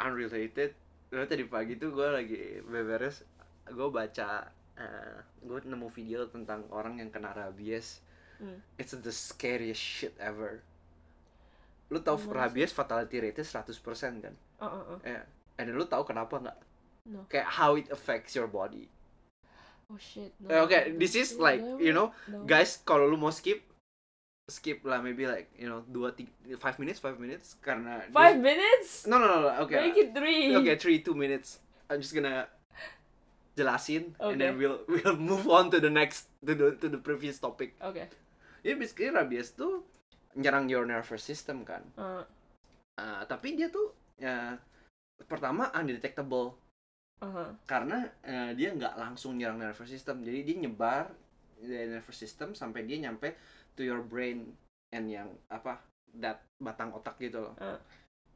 Speaker 1: unrelated Lo tadi pagi tuh gue lagi beberes gue baca gue nemu video tentang orang yang kena rabies
Speaker 2: Hmm.
Speaker 1: it's the scariest shit ever lu tau
Speaker 2: Gimana
Speaker 1: rabies
Speaker 2: sih?
Speaker 1: fatality rate 100% kan
Speaker 2: uh, uh, uh.
Speaker 1: eh and lu tau kenapa nggak
Speaker 2: No.
Speaker 1: kayak how it affects your body
Speaker 2: oh shit no.
Speaker 1: Eh, oke this is
Speaker 2: No,
Speaker 1: like
Speaker 2: no,
Speaker 1: you know
Speaker 2: no.
Speaker 1: guys kalau lu mau skip skip lah maybe like you know dua tiga five minutes five minutes karena this-
Speaker 2: five minutes
Speaker 1: no no no, no, oke
Speaker 2: make it three
Speaker 1: oke three two minutes I'm just gonna jelasin and then
Speaker 2: Oke.
Speaker 1: we'll we'll move on to the next to the to the previous topic
Speaker 2: Oke.
Speaker 1: ya basically rabies tuh nyerang your nervous system kan
Speaker 2: Uh,
Speaker 1: Ah, tapi dia tuh ya, pertama undetectable
Speaker 2: uh-huh.
Speaker 1: karena eh, dia nggak langsung nyerang nervous system jadi dia nyebar dari nervous system sampai dia nyampe to your brain and yang apa that batang otak gitu loh
Speaker 2: Ah.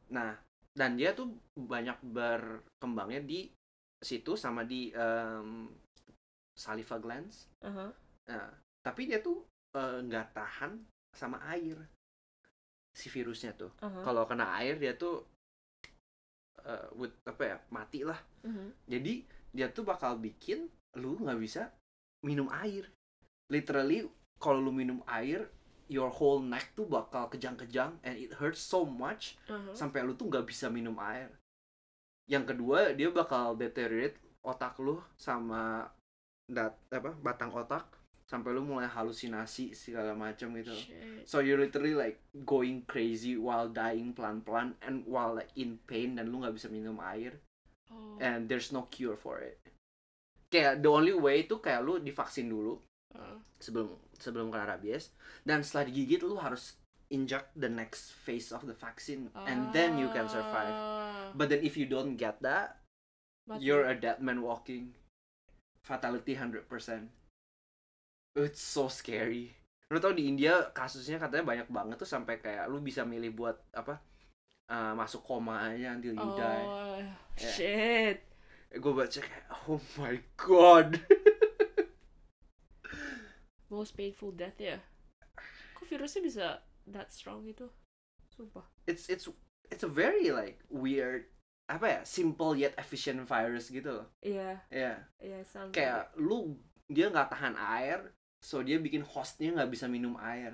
Speaker 1: nah dan dia tuh banyak berkembangnya di situ sama di em, saliva glands
Speaker 2: Aha.
Speaker 1: Nah, tapi dia tuh eh, nggak tahan sama air si virusnya tuh
Speaker 2: aha.
Speaker 1: kalau kena air dia tuh eh, would- apa ya mati lah
Speaker 2: Mhm.
Speaker 1: jadi dia tuh bakal bikin lu nggak bisa minum air literally kalau lu minum air your whole neck tuh bakal kejang-kejang and it hurts so much
Speaker 2: Aha.
Speaker 1: sampai lu tuh nggak bisa minum air yang kedua dia bakal deteriorate otak lu sama dat apa batang otak sampai lu mulai halusinasi segala macam gitu
Speaker 2: Shit.
Speaker 1: So you're literally like going crazy while dying pelan-pelan and while like in pain dan lu nggak bisa minum air
Speaker 2: Oh.
Speaker 1: and there's no cure for it. Kayak the only way itu kayak lu divaksin dulu
Speaker 2: Uh.
Speaker 1: sebelum sebelum kena rabies dan setelah digigit lu harus inject the next phase of the vaccine
Speaker 2: uh,
Speaker 1: and then you can survive.
Speaker 2: Ah.
Speaker 1: But then if you don't get that,
Speaker 2: Mati.
Speaker 1: you're a dead man walking. Fatality 100%. It's so scary. Lu tau di India kasusnya katanya banyak banget tuh sampai kayak lu bisa milih buat apa uh, masuk koma aja until you
Speaker 2: oh,
Speaker 1: die. Yeah.
Speaker 2: Shit.
Speaker 1: Gue baca kayak oh my god.
Speaker 2: Most painful death ya. Kok virusnya bisa that strong gitu? Sumpah.
Speaker 1: It's it's it's a very like weird apa ya simple yet efficient virus gitu loh.
Speaker 2: Iya,
Speaker 1: Ya.
Speaker 2: iya sounds like
Speaker 1: Kayak lu dia nggak tahan air, so dia bikin hostnya nggak bisa minum air.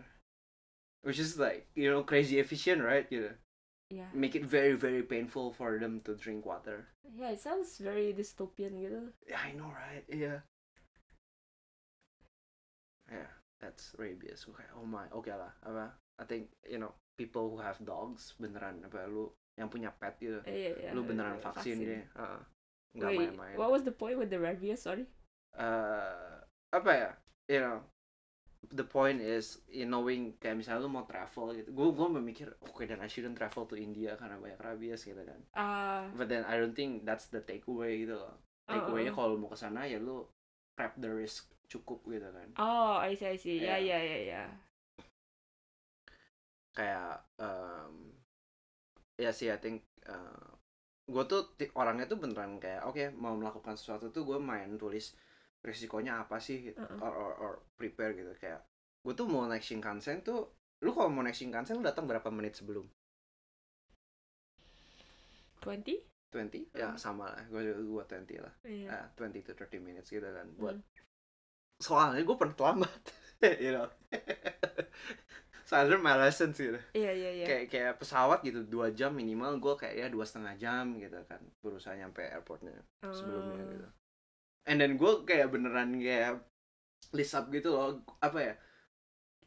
Speaker 1: Which is like you know crazy efficient right? Gitu.
Speaker 2: it. Iya.
Speaker 1: make it very very painful for them to drink water.
Speaker 2: Yeah, it sounds very dystopian gitu.
Speaker 1: Yeah, I know, right? Yeah. Yeah, that's rabies. Okay. Oh my. Okay lah. Apa? I think you know people who have dogs beneran apa lu yang punya pet gitu.
Speaker 2: Eh, Iya, iya.
Speaker 1: lu beneran
Speaker 2: iya,
Speaker 1: vaksin, deh. Heeh. Nggak
Speaker 2: Wait,
Speaker 1: main-main.
Speaker 2: what was the point with the rabies? Sorry.
Speaker 1: Eh, apa ya? You know, the point is you knowing kayak misalnya lu mau travel gitu. Gue gue memikir, oke okay, then I shouldn't travel to India karena banyak rabies gitu kan.
Speaker 2: Ah,
Speaker 1: But then I don't think that's the takeaway gitu loh. Takeaway-nya
Speaker 2: uh-uh.
Speaker 1: kalau mau ke sana ya lu prep the risk cukup gitu kan.
Speaker 2: Oh, I see, I see. Ya, ya,
Speaker 1: Yeah.
Speaker 2: ya, ya.
Speaker 1: Kayak em, ya sih I think gue tuh ti- orangnya tuh beneran kayak oke mau melakukan sesuatu tuh gue main tulis risikonya apa sih gitu.
Speaker 2: Uh-uh.
Speaker 1: or, or, or prepare gitu kayak gue tuh mau naik Shinkansen tuh lu kalau mau naik Shinkansen lu datang berapa menit sebelum
Speaker 2: 20?
Speaker 1: 20 ya
Speaker 2: Hmm.
Speaker 1: sama lah gue gue 20 lah
Speaker 2: Iya.
Speaker 1: Eh, 20 to 30 minutes gitu kan buat
Speaker 2: Hmm.
Speaker 1: soalnya gue pernah terlambat you know soalnya my lessons gitu
Speaker 2: Iya, iya, iya.
Speaker 1: kayak kayak pesawat gitu dua jam minimal gue kayak ya dua setengah jam gitu kan berusaha nyampe airportnya sebelumnya
Speaker 2: Ah.
Speaker 1: gitu and then gue kayak beneran kayak list up gitu loh apa ya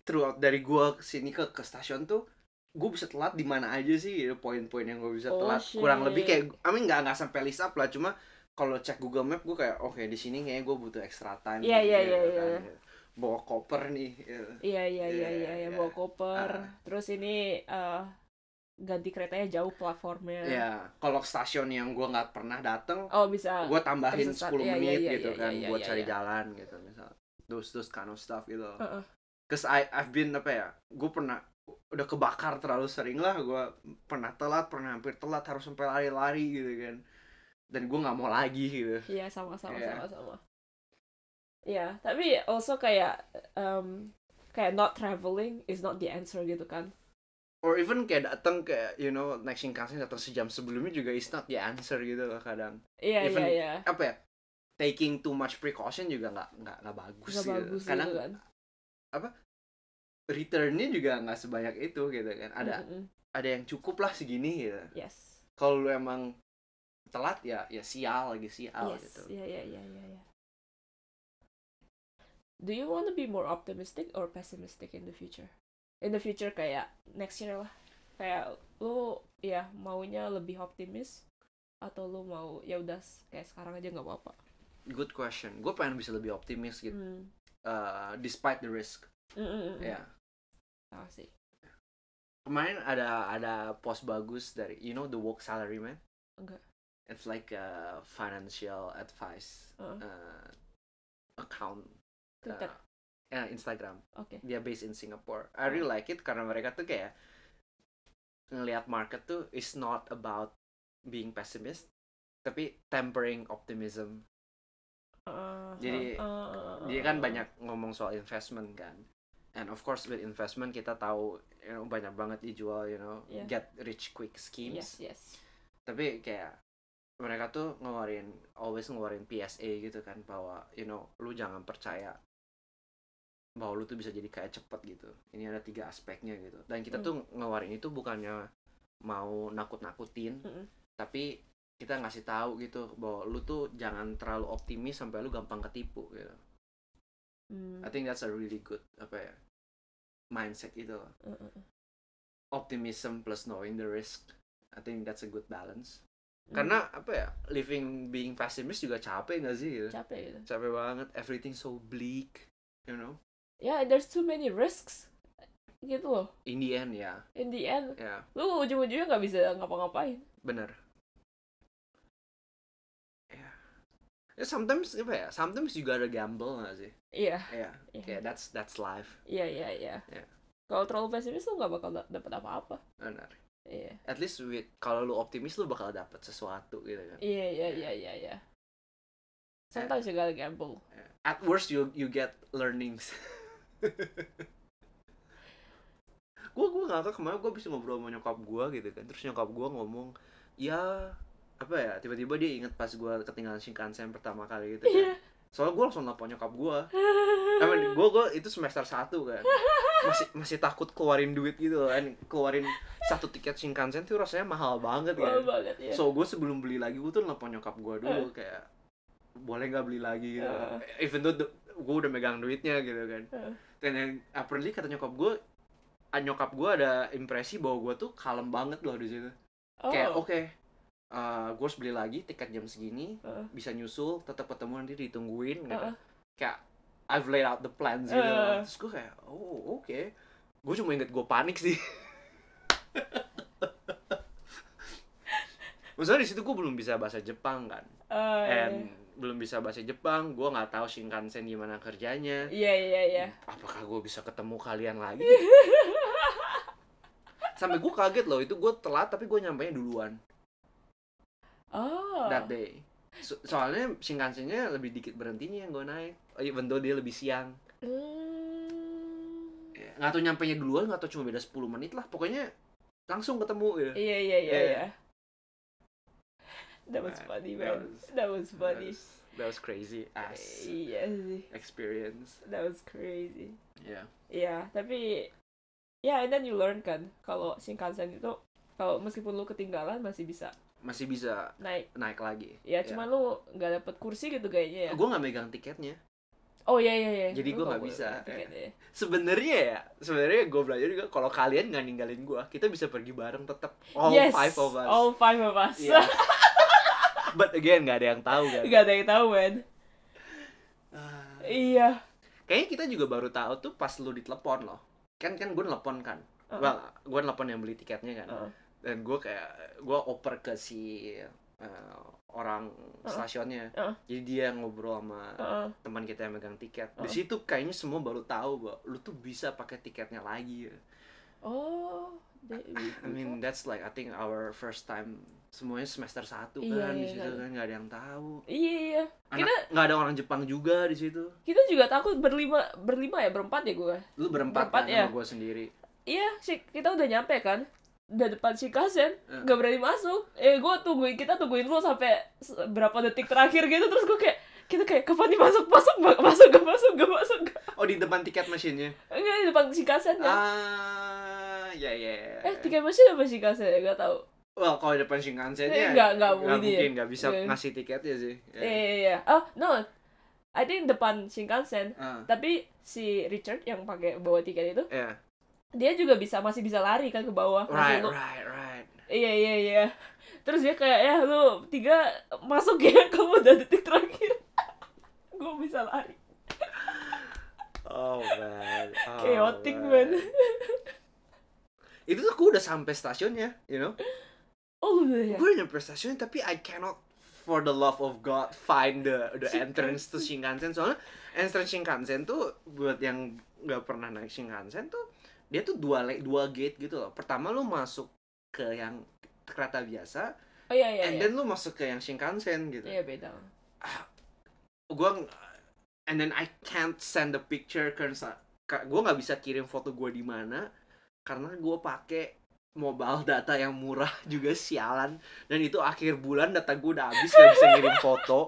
Speaker 1: throughout dari gue sini ke ke stasiun tuh gue bisa telat di mana aja sih gitu, poin-poin yang gue bisa
Speaker 2: Oh,
Speaker 1: telat kurang lebih
Speaker 2: shit.
Speaker 1: kayak I mean nggak nggak sampai list up lah cuma kalau cek Google Map gue kayak oke di sini kayaknya gue butuh extra time gitu
Speaker 2: Iya, iya,
Speaker 1: kan,
Speaker 2: iya, iya,
Speaker 1: gitu. bawa koper nih gitu.
Speaker 2: Iya iya iya
Speaker 1: Iya,
Speaker 2: iya iya
Speaker 1: iya.
Speaker 2: bawa koper.
Speaker 1: Ah.
Speaker 2: Terus ini eh ganti keretanya jauh platformnya.
Speaker 1: ya kalau stasiun yang gue nggak pernah dateng
Speaker 2: Oh bisa.
Speaker 1: gue tambahin
Speaker 2: tersesat.
Speaker 1: 10
Speaker 2: Iya, iya,
Speaker 1: menit
Speaker 2: iya,
Speaker 1: gitu
Speaker 2: iya,
Speaker 1: kan
Speaker 2: iya,
Speaker 1: buat
Speaker 2: iya,
Speaker 1: cari
Speaker 2: iya.
Speaker 1: jalan gitu misal those those kind of stuff gitu
Speaker 2: Heeh.
Speaker 1: cause I I've been apa ya gue pernah udah kebakar terlalu sering lah gue pernah telat pernah hampir telat harus sampai lari-lari gitu kan dan gue nggak mau lagi gitu
Speaker 2: Iya sama sama
Speaker 1: Iya.
Speaker 2: sama sama. Iya tapi also kayak em, kayak not traveling is not the answer gitu kan.
Speaker 1: or even kayak datang kayak you know naik shinkansen datang sejam sebelumnya juga is not the answer gitu loh kadang
Speaker 2: Iya
Speaker 1: Even
Speaker 2: iya iya.
Speaker 1: apa ya taking too much precaution juga nggak nggak nggak bagus,
Speaker 2: Gak
Speaker 1: gitu.
Speaker 2: bagus
Speaker 1: kadang
Speaker 2: gitu kan.
Speaker 1: returnnya juga nggak sebanyak itu gitu kan ada
Speaker 2: Mm-mm.
Speaker 1: ada yang cukup lah segini gitu
Speaker 2: Yes.
Speaker 1: kalau lu emang telat ya ya sial lagi sial
Speaker 2: yes.
Speaker 1: gitu
Speaker 2: Iya iya iya iya. iya. Do you want to be more optimistic or pessimistic in the future? In the future kayak next year lah. Kayak lu ya maunya lebih optimis atau lu mau ya udah s- kayak sekarang aja nggak apa-apa.
Speaker 1: good question gue pengen bisa lebih optimis gitu
Speaker 2: Hmm.
Speaker 1: Uh, despite the risk
Speaker 2: Mm, mm, mm, mm.
Speaker 1: ya
Speaker 2: Sama Ah, sih.
Speaker 1: kemarin ada ada post bagus dari you know the work salary man
Speaker 2: Enggak.
Speaker 1: it's like a financial advice
Speaker 2: Heeh.
Speaker 1: uh, account uh,
Speaker 2: Twitter.
Speaker 1: eh, Instagram
Speaker 2: Oke.
Speaker 1: dia based in Singapore.
Speaker 2: Hmm.
Speaker 1: I really like it karena mereka tuh kayak ngelihat market tuh is not about being pessimist tapi tempering optimism
Speaker 2: Uh,
Speaker 1: Jadi-
Speaker 2: uh,
Speaker 1: dia kan banyak ngomong soal investment kan and of course with investment kita tahu you know banyak banget dijual you know
Speaker 2: Yeah.
Speaker 1: get rich quick schemes
Speaker 2: yes yes
Speaker 1: tapi kayak mereka tuh ngeluarin always ngeluarin PSA gitu kan bahwa you know lu jangan percaya bahwa lu tuh bisa jadi kaya cepet gitu ini ada tiga aspeknya gitu dan kita
Speaker 2: Mm.
Speaker 1: tuh ngeluarin itu bukannya mau nakut-nakutin
Speaker 2: Mm-mm.
Speaker 1: tapi kita ngasih tahu gitu bahwa lu tuh jangan terlalu optimis sampai lu gampang ketipu gitu
Speaker 2: Mm,
Speaker 1: I think that's a really good apa ya mindset itu
Speaker 2: uh, uh, uh.
Speaker 1: optimism plus knowing the risk I think that's a good balance
Speaker 2: Mm,
Speaker 1: karena apa ya living being pessimist juga capek nggak sih gitu?
Speaker 2: capek gitu
Speaker 1: capek banget everything so bleak you know
Speaker 2: ya there's too many risks gitu loh
Speaker 1: in the end ya
Speaker 2: in the end
Speaker 1: ya
Speaker 2: lu ujung-ujungnya nggak bisa ngapa-ngapain
Speaker 1: bener ya Ya, sometimes apa ya sometimes you gotta gamble nggak sih
Speaker 2: iya
Speaker 1: ya
Speaker 2: Iya.
Speaker 1: kayak that's that's life
Speaker 2: iya iya iya
Speaker 1: Iya.
Speaker 2: kalau terlalu pesimis lu nggak bakal da- dapet apa-apa
Speaker 1: bener
Speaker 2: iya
Speaker 1: at least with kalau lu optimis lu bakal dapet sesuatu gitu kan
Speaker 2: iya iya iya iya iya sometimes you gotta gamble
Speaker 1: at worst you you get learnings gue gue nggak tahu kemarin gue bisa ngobrol sama nyokap gue gitu kan terus nyokap gue ngomong ya apa ya tiba-tiba dia inget pas gue ketinggalan shinkansen pertama kali gitu kan
Speaker 2: iya
Speaker 1: soalnya gue langsung nelfon nyokap gue tapi gue gue itu semester satu kan masih masih takut keluarin duit gitu kan keluarin satu tiket shinkansen tuh rasanya mahal banget kan
Speaker 2: Mahal banget ya
Speaker 1: So gue sebelum beli lagi gue tuh nelfon nyokap gue dulu kayak boleh nggak beli lagi gitu.
Speaker 2: Ah.
Speaker 1: Even though gue udah megang duitnya gitu kan.
Speaker 2: Ah.
Speaker 1: Dan yang apparently kata nyokap gue ah, nyokap gue ada impresi bahwa gue tuh kalem banget loh di situ.
Speaker 2: oh.
Speaker 1: Kayak oke, gue harus beli lagi tiket jam segini,
Speaker 2: Ah.
Speaker 1: bisa nyusul, tetap ketemu nanti ditungguin. Gitu.
Speaker 2: Ah.
Speaker 1: Kayak I've laid out the plans gitu.
Speaker 2: Ah.
Speaker 1: Terus gue kayak oh oke, gue cuma inget gue panik sih. Maksudnya di situ gue belum bisa bahasa Jepang kan,
Speaker 2: Ah, iya.
Speaker 1: and belum bisa bahasa Jepang, gue nggak tahu Shinkansen gimana kerjanya.
Speaker 2: iya iya iya
Speaker 1: Apakah gue bisa ketemu kalian lagi? Sampai gue kaget loh, itu gue telat tapi gue nyampainya duluan
Speaker 2: oh
Speaker 1: that day. So- soalnya Shinkansennya lebih dikit berhentinya yang gue naik, Oh, even though dia lebih siang.
Speaker 2: Hmm.
Speaker 1: Ya, Nggak tahu nyampainya duluan, nggak tahu cuma beda 10 menit lah, pokoknya langsung ketemu gitu.
Speaker 2: iya iya iya
Speaker 1: Yeah.
Speaker 2: iya that was
Speaker 1: Man,
Speaker 2: funny
Speaker 1: that
Speaker 2: man
Speaker 1: was-
Speaker 2: that was funny
Speaker 1: That was crazy as
Speaker 2: iya sih
Speaker 1: experience.
Speaker 2: that was crazy
Speaker 1: Yeah.
Speaker 2: Iya, tapi ya and then you learn kan kalau Shinkansen itu kalau meskipun lu ketinggalan masih bisa
Speaker 1: Masih bisa
Speaker 2: naik.
Speaker 1: naik lagi. Ya.
Speaker 2: Ya cuman lu nggak dapet kursi gitu kayaknya ya.
Speaker 1: Gue nggak megang tiketnya.
Speaker 2: Oh iya iya iya.
Speaker 1: Jadi
Speaker 2: Lu
Speaker 1: gua nggak
Speaker 2: nggak boleh
Speaker 1: bisa,
Speaker 2: beli tiketnya ya.
Speaker 1: Sebenarnya ya, sebenarnya gue belajar juga kalau kalian nggak ninggalin gue, kita bisa pergi bareng tetap all
Speaker 2: yes,
Speaker 1: five of us. Iya.
Speaker 2: All five of us.
Speaker 1: Yeah. But again nggak ada yang tahu kan.
Speaker 2: Gak ada yang tahu man.
Speaker 1: Ah.
Speaker 2: Iya.
Speaker 1: Kayaknya kita juga baru tahu tuh pas lu ditelepon loh. Kan kan gue nelpon kan.
Speaker 2: Uh-uh.
Speaker 1: Well, gue nelpon yang beli tiketnya kan.
Speaker 2: Uh-uh.
Speaker 1: Dan gue kayak gue oper ke si eh, orang stasiunnya.
Speaker 2: Uh-uh.
Speaker 1: Jadi dia ngobrol sama
Speaker 2: Heeh.
Speaker 1: teman kita yang megang tiket. Di
Speaker 2: Uh-uh.
Speaker 1: situ kayaknya semua baru tahu bahwa lu tuh bisa pakai tiketnya lagi. ya.
Speaker 2: Oh. they-
Speaker 1: I
Speaker 2: Gitu.
Speaker 1: mean that's like I think our first time semuanya semester 1 kan
Speaker 2: Iya,
Speaker 1: di
Speaker 2: iya,
Speaker 1: situ
Speaker 2: iya.
Speaker 1: kan nggak ada yang tahu.
Speaker 2: Iya iya.
Speaker 1: Anak
Speaker 2: Kita-
Speaker 1: nggak ada orang Jepang juga di situ.
Speaker 2: Kita juga takut berlima berlima ya berempat ya gue.
Speaker 1: Lu berempat,
Speaker 2: Berempat,
Speaker 1: kan
Speaker 2: ya.
Speaker 1: sama gue sendiri.
Speaker 2: Iya, sih kita udah nyampe kan. Udah depan Shinkansen,
Speaker 1: Hmm.
Speaker 2: gak berani masuk. Eh, gue tungguin, kita tungguin lu sampai se- berapa detik terakhir gitu. Terus gue kayak, kita kayak, kapan nih masuk, masuk, ma- masuk, gak masuk, gak masuk. nggak."
Speaker 1: Oh di depan tiket mesinnya.
Speaker 2: Enggak, di depan Shinkansen ya.
Speaker 1: Ah, ya ya. ya.
Speaker 2: Eh, tiket mesin apa Shinkansen ya? Gak tau.
Speaker 1: Well, kalau depan Shinkansen
Speaker 2: Eh,
Speaker 1: ya
Speaker 2: nggak- nggak
Speaker 1: nggak
Speaker 2: mungkin ya.
Speaker 1: mungkin nggak bisa
Speaker 2: Iya.
Speaker 1: ngasih tiketnya sih. Ya.
Speaker 2: Iya, iya, iya. Oh, no. I think depan Shinkansen.
Speaker 1: Ah,
Speaker 2: Tapi si Richard yang pakai bawa tiket itu,
Speaker 1: ya.
Speaker 2: dia juga bisa, masih bisa lari kan ke bawah.
Speaker 1: Right,
Speaker 2: Masih lu-
Speaker 1: right, right.
Speaker 2: Iya iya iya. Terus dia kayak ya lu tiga masuk ya kamu udah detik terakhir. gue bisa lari.
Speaker 1: Oh man. Oh,
Speaker 2: Chaotic man.
Speaker 1: Itu tuh aku udah sampai stasiunnya, you know.
Speaker 2: Iya. Oh udah ya.
Speaker 1: Gue udah nyampe stasiun tapi I cannot for the love of God find the the
Speaker 2: Shinkansen.
Speaker 1: entrance to Shinkansen soalnya entrance Shinkansen tuh buat yang nggak pernah naik Shinkansen tuh dia tuh dua le- dua gate gitu loh. Pertama lu masuk ke yang kereta biasa,
Speaker 2: Oh iya iya.
Speaker 1: and
Speaker 2: iya.
Speaker 1: then lu masuk ke yang Shinkansen gitu
Speaker 2: Iya beda.
Speaker 1: gua ng- and then I can't send the picture karena ka- gua nggak bisa kirim foto gua di mana karena gua pakai mobile data yang murah juga sialan dan itu akhir bulan data gua udah habis nggak bisa ngirim foto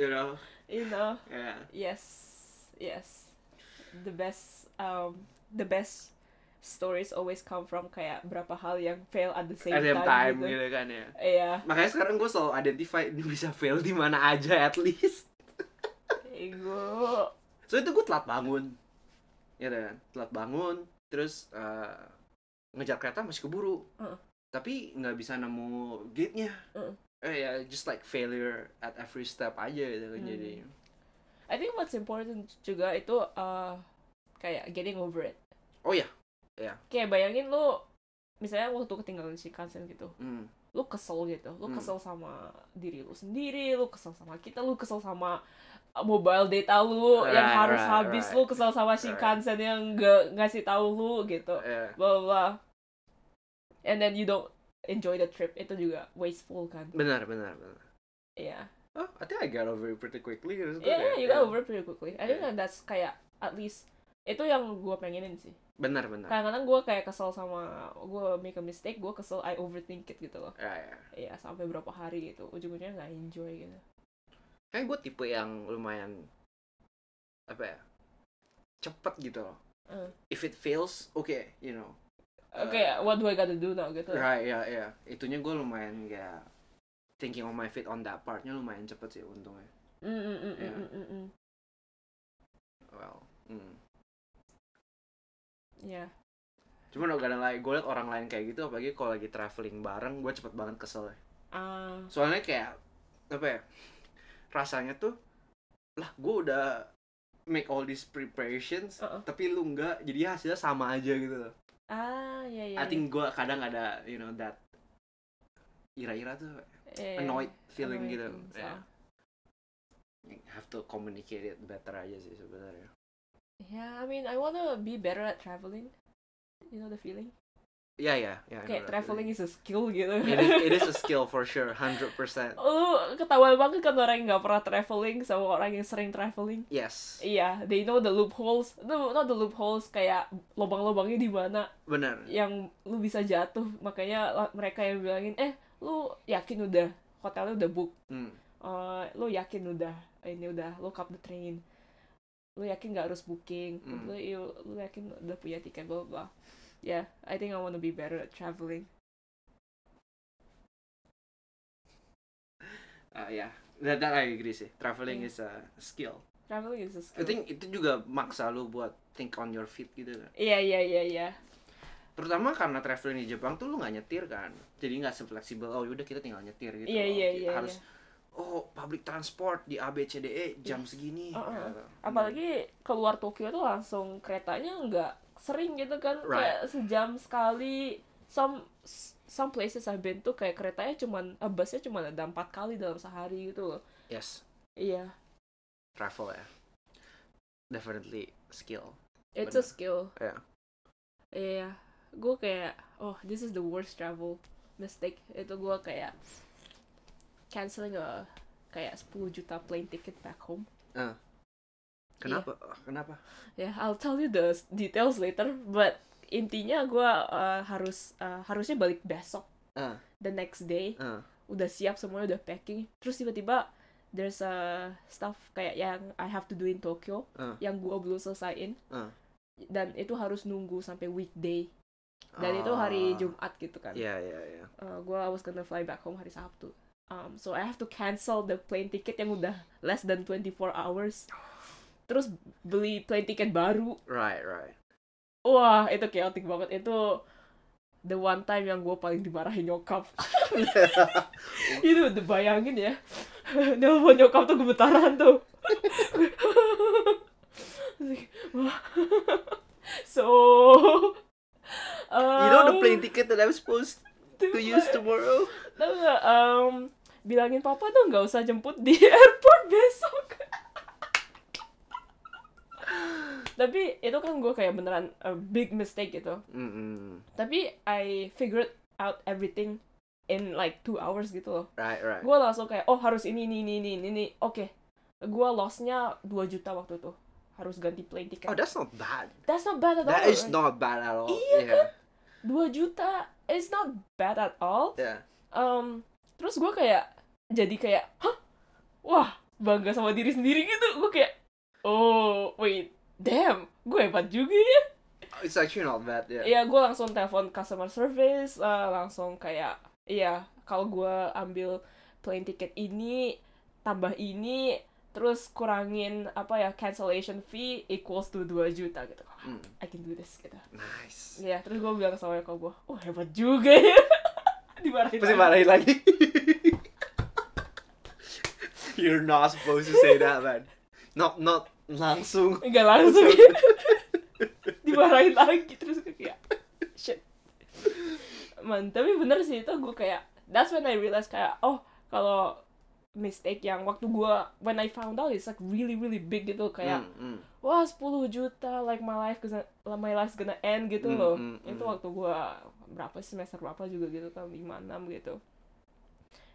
Speaker 1: you know
Speaker 2: You know,
Speaker 1: yeah.
Speaker 2: yes, yes. The best, um, the best stories always come from kayak berapa hal yang fail at the same,
Speaker 1: at the same time
Speaker 2: gitu.
Speaker 1: gitu kan ya
Speaker 2: Iya,
Speaker 1: makanya sekarang gua selalu identify ini bisa fail di mana aja at least
Speaker 2: ego.
Speaker 1: so itu gue telat bangun ya kan telat bangun terus eh, ngejar kereta masih keburu
Speaker 2: Heeh.
Speaker 1: tapi nggak bisa nemu gate nya
Speaker 2: Heeh.
Speaker 1: eh ya just like failure at every step aja gitu kan
Speaker 2: Hmm.
Speaker 1: jadi
Speaker 2: I think what's important juga itu uh, kayak getting over it.
Speaker 1: Oh, iya. Iya.
Speaker 2: ya Kayak bayangin lu misalnya waktu ketinggalan Shinkansen gitu,
Speaker 1: hmm,
Speaker 2: lu kesel gitu, lu
Speaker 1: Hmm.
Speaker 2: kesel sama diri lu sendiri, lu kesel sama kita, lu kesel sama uh, mobile data lu yang
Speaker 1: Right,
Speaker 2: harus
Speaker 1: right,
Speaker 2: habis,
Speaker 1: right.
Speaker 2: lu kesel sama Shinkansen yang gak ngasih tahu lu gitu,
Speaker 1: eh,
Speaker 2: bla bla, bla. And then you don't enjoy the trip itu juga wasteful kan?
Speaker 1: benar benar benar
Speaker 2: Iya,
Speaker 1: oh I think I got over it pretty quickly terus
Speaker 2: yeah.
Speaker 1: gua
Speaker 2: yeah,
Speaker 1: kayak,
Speaker 2: Iya, you got
Speaker 1: eh,
Speaker 2: over it pretty quickly. I think
Speaker 1: Yeah.
Speaker 2: that's kayak at least itu yang gue pengenin sih.
Speaker 1: benar benar
Speaker 2: Kadang-kadang gue kayak kesel sama gue make a mistake, gue kesel I overthink it gitu loh.
Speaker 1: ya ya
Speaker 2: Iya sampai berapa hari gitu, ujung-ujungnya nggak enjoy gitu.
Speaker 1: Eh. kayak gue tipe yang lumayan apa ya cepet gitu loh
Speaker 2: Eh.
Speaker 1: if it fails okay you know
Speaker 2: Oke, what do I gotta do now gitu.
Speaker 1: Right, ya, ya. Itunya gue lumayan ya thinking on my feet on that partnya lumayan cepet sih untungnya.
Speaker 2: Mm, mm, mm,
Speaker 1: Yeah.
Speaker 2: mm, mm, mm.
Speaker 1: Well, hmm.
Speaker 2: Yeah.
Speaker 1: Cuman gak ada lain, gue liat orang lain kayak gitu apalagi kalau lagi traveling bareng gue cepet banget kesel.
Speaker 2: Ah,
Speaker 1: Soalnya kayak apa ya? Rasanya tuh lah gue udah make all these preparations
Speaker 2: Uh-uh.
Speaker 1: tapi lu nggak jadi hasilnya sama aja gitu loh.
Speaker 2: ah, ya
Speaker 1: I
Speaker 2: ya.
Speaker 1: think gue kadang ada you know that ira-ira tuh
Speaker 2: Iya,
Speaker 1: annoyed feeling gitu. Ya. Have to communicate it better aja sih sebenarnya.
Speaker 2: Yeah, I mean, I wanna be better at traveling. You know the feeling?
Speaker 1: Ya ya ya. I know
Speaker 2: Kayak
Speaker 1: that
Speaker 2: traveling
Speaker 1: feeling. Iya.
Speaker 2: is a skill gitu.
Speaker 1: It is, it is a skill for sure, hundred percent.
Speaker 2: Lu ketahuan banget kan orang yang nggak pernah traveling sama orang yang sering traveling.
Speaker 1: Yes,
Speaker 2: Iya, they know the loopholes. No, not the loopholes, kayak lubang-lubangnya di mana
Speaker 1: benar.
Speaker 2: yang lu bisa jatuh. Makanya la- mereka yang bilangin, "Eh, lu yakin udah hotelnya udah book?"
Speaker 1: Hmm.
Speaker 2: Eh, lo yakin udah ini udah lo up the train lo yakin nggak harus booking
Speaker 1: Hmm.
Speaker 2: lo, lo yakin udah punya tiket bla bla bla. yeah I think I want to be better at traveling
Speaker 1: Ah, ya, that, that I agree sih. Traveling
Speaker 2: Iya.
Speaker 1: is a skill.
Speaker 2: traveling is a
Speaker 1: I
Speaker 2: skill
Speaker 1: think itu juga maksa lu buat think on your feet gitu kan.
Speaker 2: iya iya iya iya
Speaker 1: Terutama karena traveling di Jepang tuh lu nggak nyetir kan. Jadi nggak sefleksibel. Oh yaudah kita tinggal nyetir gitu.
Speaker 2: iya
Speaker 1: loh.
Speaker 2: iya iya
Speaker 1: Harus
Speaker 2: iya.
Speaker 1: oh public transport di ABCDE E jam segini.
Speaker 2: Uh-uh.
Speaker 1: Gitu.
Speaker 2: apalagi keluar Tokyo tuh langsung keretanya nggak sering gitu kan
Speaker 1: Right.
Speaker 2: kayak sejam sekali some some places I've been tuh kayak keretanya cuman eh, busnya cuman ada empat kali dalam sehari gitu loh
Speaker 1: Yes,
Speaker 2: iya
Speaker 1: travel ya. Definitely skill.
Speaker 2: It's a
Speaker 1: Bener.
Speaker 2: skill.
Speaker 1: Iya.
Speaker 2: Iya. Gue kayak, oh, this is the worst travel mistake. Itu gue kayak canceling a kayak 10 juta plane ticket back home.
Speaker 1: Kenapa? Kenapa?
Speaker 2: Ya, I'll tell you the s- details later, but intinya gue harus uh, harusnya balik besok.
Speaker 1: Ah.
Speaker 2: The next day
Speaker 1: Ah.
Speaker 2: udah siap semuanya udah packing. Terus tiba-tiba there's a stuff kayak yang I have to do in Tokyo
Speaker 1: Ah.
Speaker 2: yang gue belum selesaiin.
Speaker 1: Ah.
Speaker 2: Dan itu harus nunggu sampai weekday dan itu hari
Speaker 1: Ah.
Speaker 2: Jumat gitu kan.
Speaker 1: Ya ya ya.
Speaker 2: gue I was gonna fly back home hari Sabtu. Um, so I have to cancel the plane ticket yang udah less than 24 hours. Terus beli plane ticket baru.
Speaker 1: Right, right.
Speaker 2: Wah, itu chaotic banget. Itu the one time yang gue paling dimarahin nyokap.
Speaker 1: Iya.
Speaker 2: itu udah bayangin ya. Nelfon nyokap tuh gemetaran tuh. Wah. so
Speaker 1: you know the
Speaker 2: um,
Speaker 1: plane ticket that I'm supposed to use tomorrow?
Speaker 2: Tau nggak, em, bilangin papa tuh nggak usah jemput di airport besok. Tapi itu kan gue kayak beneran a big mistake gitu.
Speaker 1: Mm-mm.
Speaker 2: Tapi I figured out everything in like two hours gitu loh
Speaker 1: right right
Speaker 2: gue langsung kayak oh harus ini ini ini ini ini, ini. oke gue lossnya 2 juta waktu itu harus ganti plane ticket
Speaker 1: oh that's not bad
Speaker 2: that's not bad at all
Speaker 1: that is
Speaker 2: right?
Speaker 1: not bad at all
Speaker 2: Iya
Speaker 1: yeah
Speaker 2: kan? 2 juta it's not bad at all
Speaker 1: yeah
Speaker 2: um, terus gue kayak jadi kayak hah wah bangga sama diri sendiri gitu gue kayak oh wait damn gue hebat juga ya
Speaker 1: it's actually not bad yeah
Speaker 2: ya gue langsung telepon customer service eh, langsung kayak iya kalau gue ambil plane ticket ini tambah ini terus kurangin apa ya cancellation fee equals to 2 juta gitu
Speaker 1: Mm,
Speaker 2: I can do this gitu
Speaker 1: nice
Speaker 2: Iya, terus gue bilang sama nyokap gue, oh hebat juga ya. Dimarahin.
Speaker 1: pasti
Speaker 2: lagi.
Speaker 1: marahin lagi you're not supposed to say that man not not langsung
Speaker 2: Enggak langsung ya. Dimarahin lagi terus gue kayak shit. Man, tapi bener sih itu gue kayak that's when I realized kayak oh kalau mistake yang waktu gue when I found out it's like really really big gitu kayak
Speaker 1: Mm, mm.
Speaker 2: wah 10 juta like my life gonna, my life's gonna end gitu
Speaker 1: Mm,
Speaker 2: loh
Speaker 1: mm, mm.
Speaker 2: itu waktu gua berapa semester berapa juga gitu kan 5 6 gitu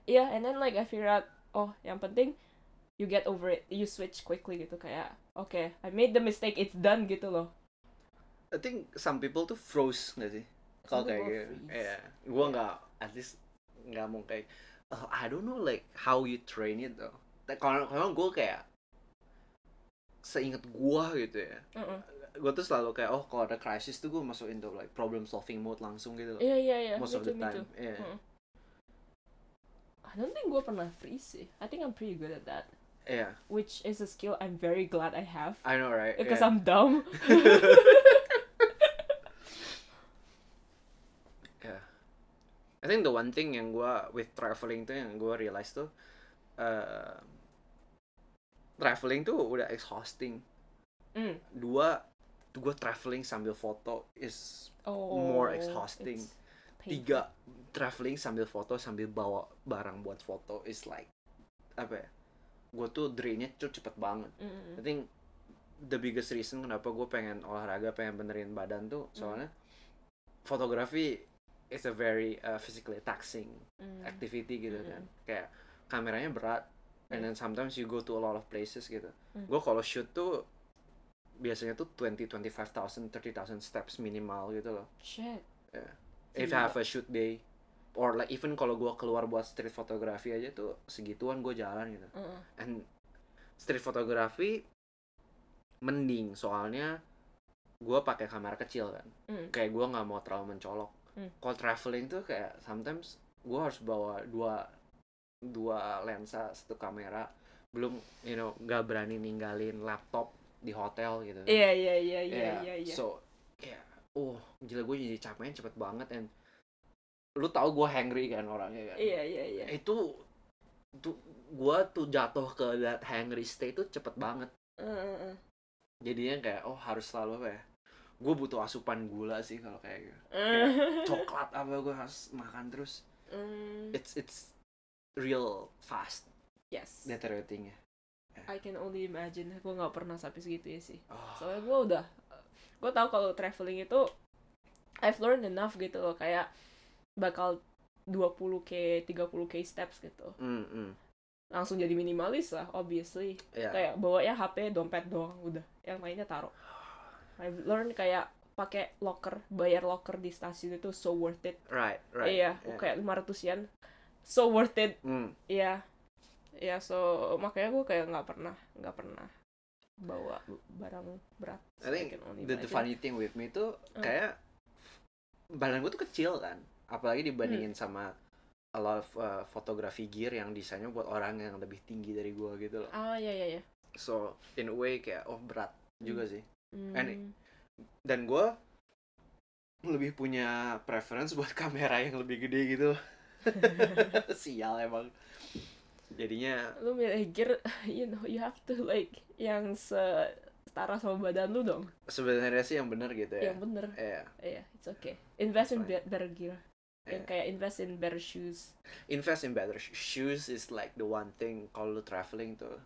Speaker 2: iya and then like I figure out oh yang penting you get over it you switch quickly gitu kayak oke I made the mistake it's done gitu loh
Speaker 1: I think some people tuh froze nggak sih? Kalau
Speaker 2: Some
Speaker 1: kayak
Speaker 2: people
Speaker 1: gitu.
Speaker 2: freeze.
Speaker 1: Iya. Gua nggak at least nggak mau kayak "Oh, I don't know like how you train it though. Tapi Kalau kalau gue kayak seingat gua gitu ya.
Speaker 2: Mm-mm.
Speaker 1: Gua tuh selalu kayak oh kalau ada crisis tuh gua masuk into like problem solving mode langsung gitu loh.
Speaker 2: iya iya iya
Speaker 1: Most
Speaker 2: me
Speaker 1: of the
Speaker 2: too, me too.
Speaker 1: time. Iya.
Speaker 2: Mm. I don't think gua pernah freeze sih I think I'm pretty good at that
Speaker 1: Iya.
Speaker 2: which is a skill I'm very glad I have
Speaker 1: I know right.
Speaker 2: because
Speaker 1: Iya.
Speaker 2: I'm dumb
Speaker 1: I think the one thing yang gua with traveling tuh yang gua realize tuh eh, traveling tuh udah exhausting.
Speaker 2: Mm.
Speaker 1: Dua gue traveling sambil foto is
Speaker 2: Oh,
Speaker 1: more exhausting.
Speaker 2: it's painful.
Speaker 1: tiga traveling sambil foto sambil bawa barang buat foto is like apa ya gue tuh drainnya tuh cepet banget I
Speaker 2: Mm-mm.
Speaker 1: think the biggest reason kenapa gue pengen olahraga pengen benerin badan tuh soalnya fotografi is a very uh, physically taxing
Speaker 2: Mm.
Speaker 1: activity gitu kan
Speaker 2: Mm-mm.
Speaker 1: kayak kameranya berat and
Speaker 2: Mm.
Speaker 1: then sometimes you go to a lot of places gitu
Speaker 2: Mm.
Speaker 1: gue kalau shoot tuh biasanya tuh 20 25.000 30.000 steps minimal gitu loh
Speaker 2: Shit.
Speaker 1: if I have a shoot day or like even kalau gua keluar buat street photography aja tuh segituan gue jalan gitu
Speaker 2: Mm-mm.
Speaker 1: and street photography mending soalnya gua pakai kamera kecil kan
Speaker 2: Mm.
Speaker 1: kayak gua nggak mau terlalu mencolok
Speaker 2: Mm.
Speaker 1: kalau traveling tuh kayak sometimes gua harus bawa dua dua lensa satu kamera belum you know nggak berani ninggalin laptop di hotel gitu
Speaker 2: Iya iya iya iya
Speaker 1: Yeah.
Speaker 2: iya iya.
Speaker 1: So, yeah. Oh, gila gue jadi capeknya cepet banget and lu tau gue hangry kan orangnya kan.
Speaker 2: Iya iya iya.
Speaker 1: Itu tuh gue tuh jatuh ke that hangry state tuh cepet banget.
Speaker 2: Uh, Mm-mm.
Speaker 1: Jadinya kayak oh harus selalu apa ya? Gue butuh asupan gula sih kalau kayak gitu. Coklat apa gue harus makan terus.
Speaker 2: Mm.
Speaker 1: It's it's real fast
Speaker 2: Yes.
Speaker 1: deteriorating ya.
Speaker 2: I can only imagine. Gue nggak pernah sampai segitu ya sih.
Speaker 1: Oh,
Speaker 2: Soalnya gue udah, gue tahu kalau traveling itu, I've learned enough gitu loh kayak bakal 20k, 30k steps gitu.
Speaker 1: mm, mm.
Speaker 2: Langsung jadi minimalis lah, obviously.
Speaker 1: Yeah.
Speaker 2: kayak bawanya HP dompet doang udah yang lainnya taruh I've learned kayak pakai locker bayar locker di stasiun itu so worth it
Speaker 1: Right, right.
Speaker 2: iya
Speaker 1: yeah.
Speaker 2: kayak 500 yen so worth it
Speaker 1: Mm.
Speaker 2: iya iya so makanya gue kayak nggak pernah nggak pernah bawa barang berat
Speaker 1: I think
Speaker 2: can only
Speaker 1: the, the
Speaker 2: imagine.
Speaker 1: funny thing with me tuh
Speaker 2: Hmm.
Speaker 1: kayak badan gue tuh kecil kan apalagi dibandingin
Speaker 2: Mm.
Speaker 1: sama a lot of uh, photography gear yang desainnya buat orang yang lebih tinggi dari gue gitu loh
Speaker 2: ah ya ya ya
Speaker 1: so in a way kayak oh berat
Speaker 2: Mm.
Speaker 1: juga sih
Speaker 2: Hmm,
Speaker 1: And- dan gue lebih punya preference buat kamera yang lebih gede gitu sial emang jadinya
Speaker 2: lu milih gear you know you have to like yang setara sama badan lu dong
Speaker 1: sebenarnya sih yang bener gitu ya
Speaker 2: yang bener
Speaker 1: Iya.
Speaker 2: Iya, it's okay. Invest
Speaker 1: Fine.
Speaker 2: in be- better gear. Yang
Speaker 1: Iya.
Speaker 2: kayak invest in better shoes.
Speaker 1: invest in better sh- shoes is like the one thing kalau lu traveling tuh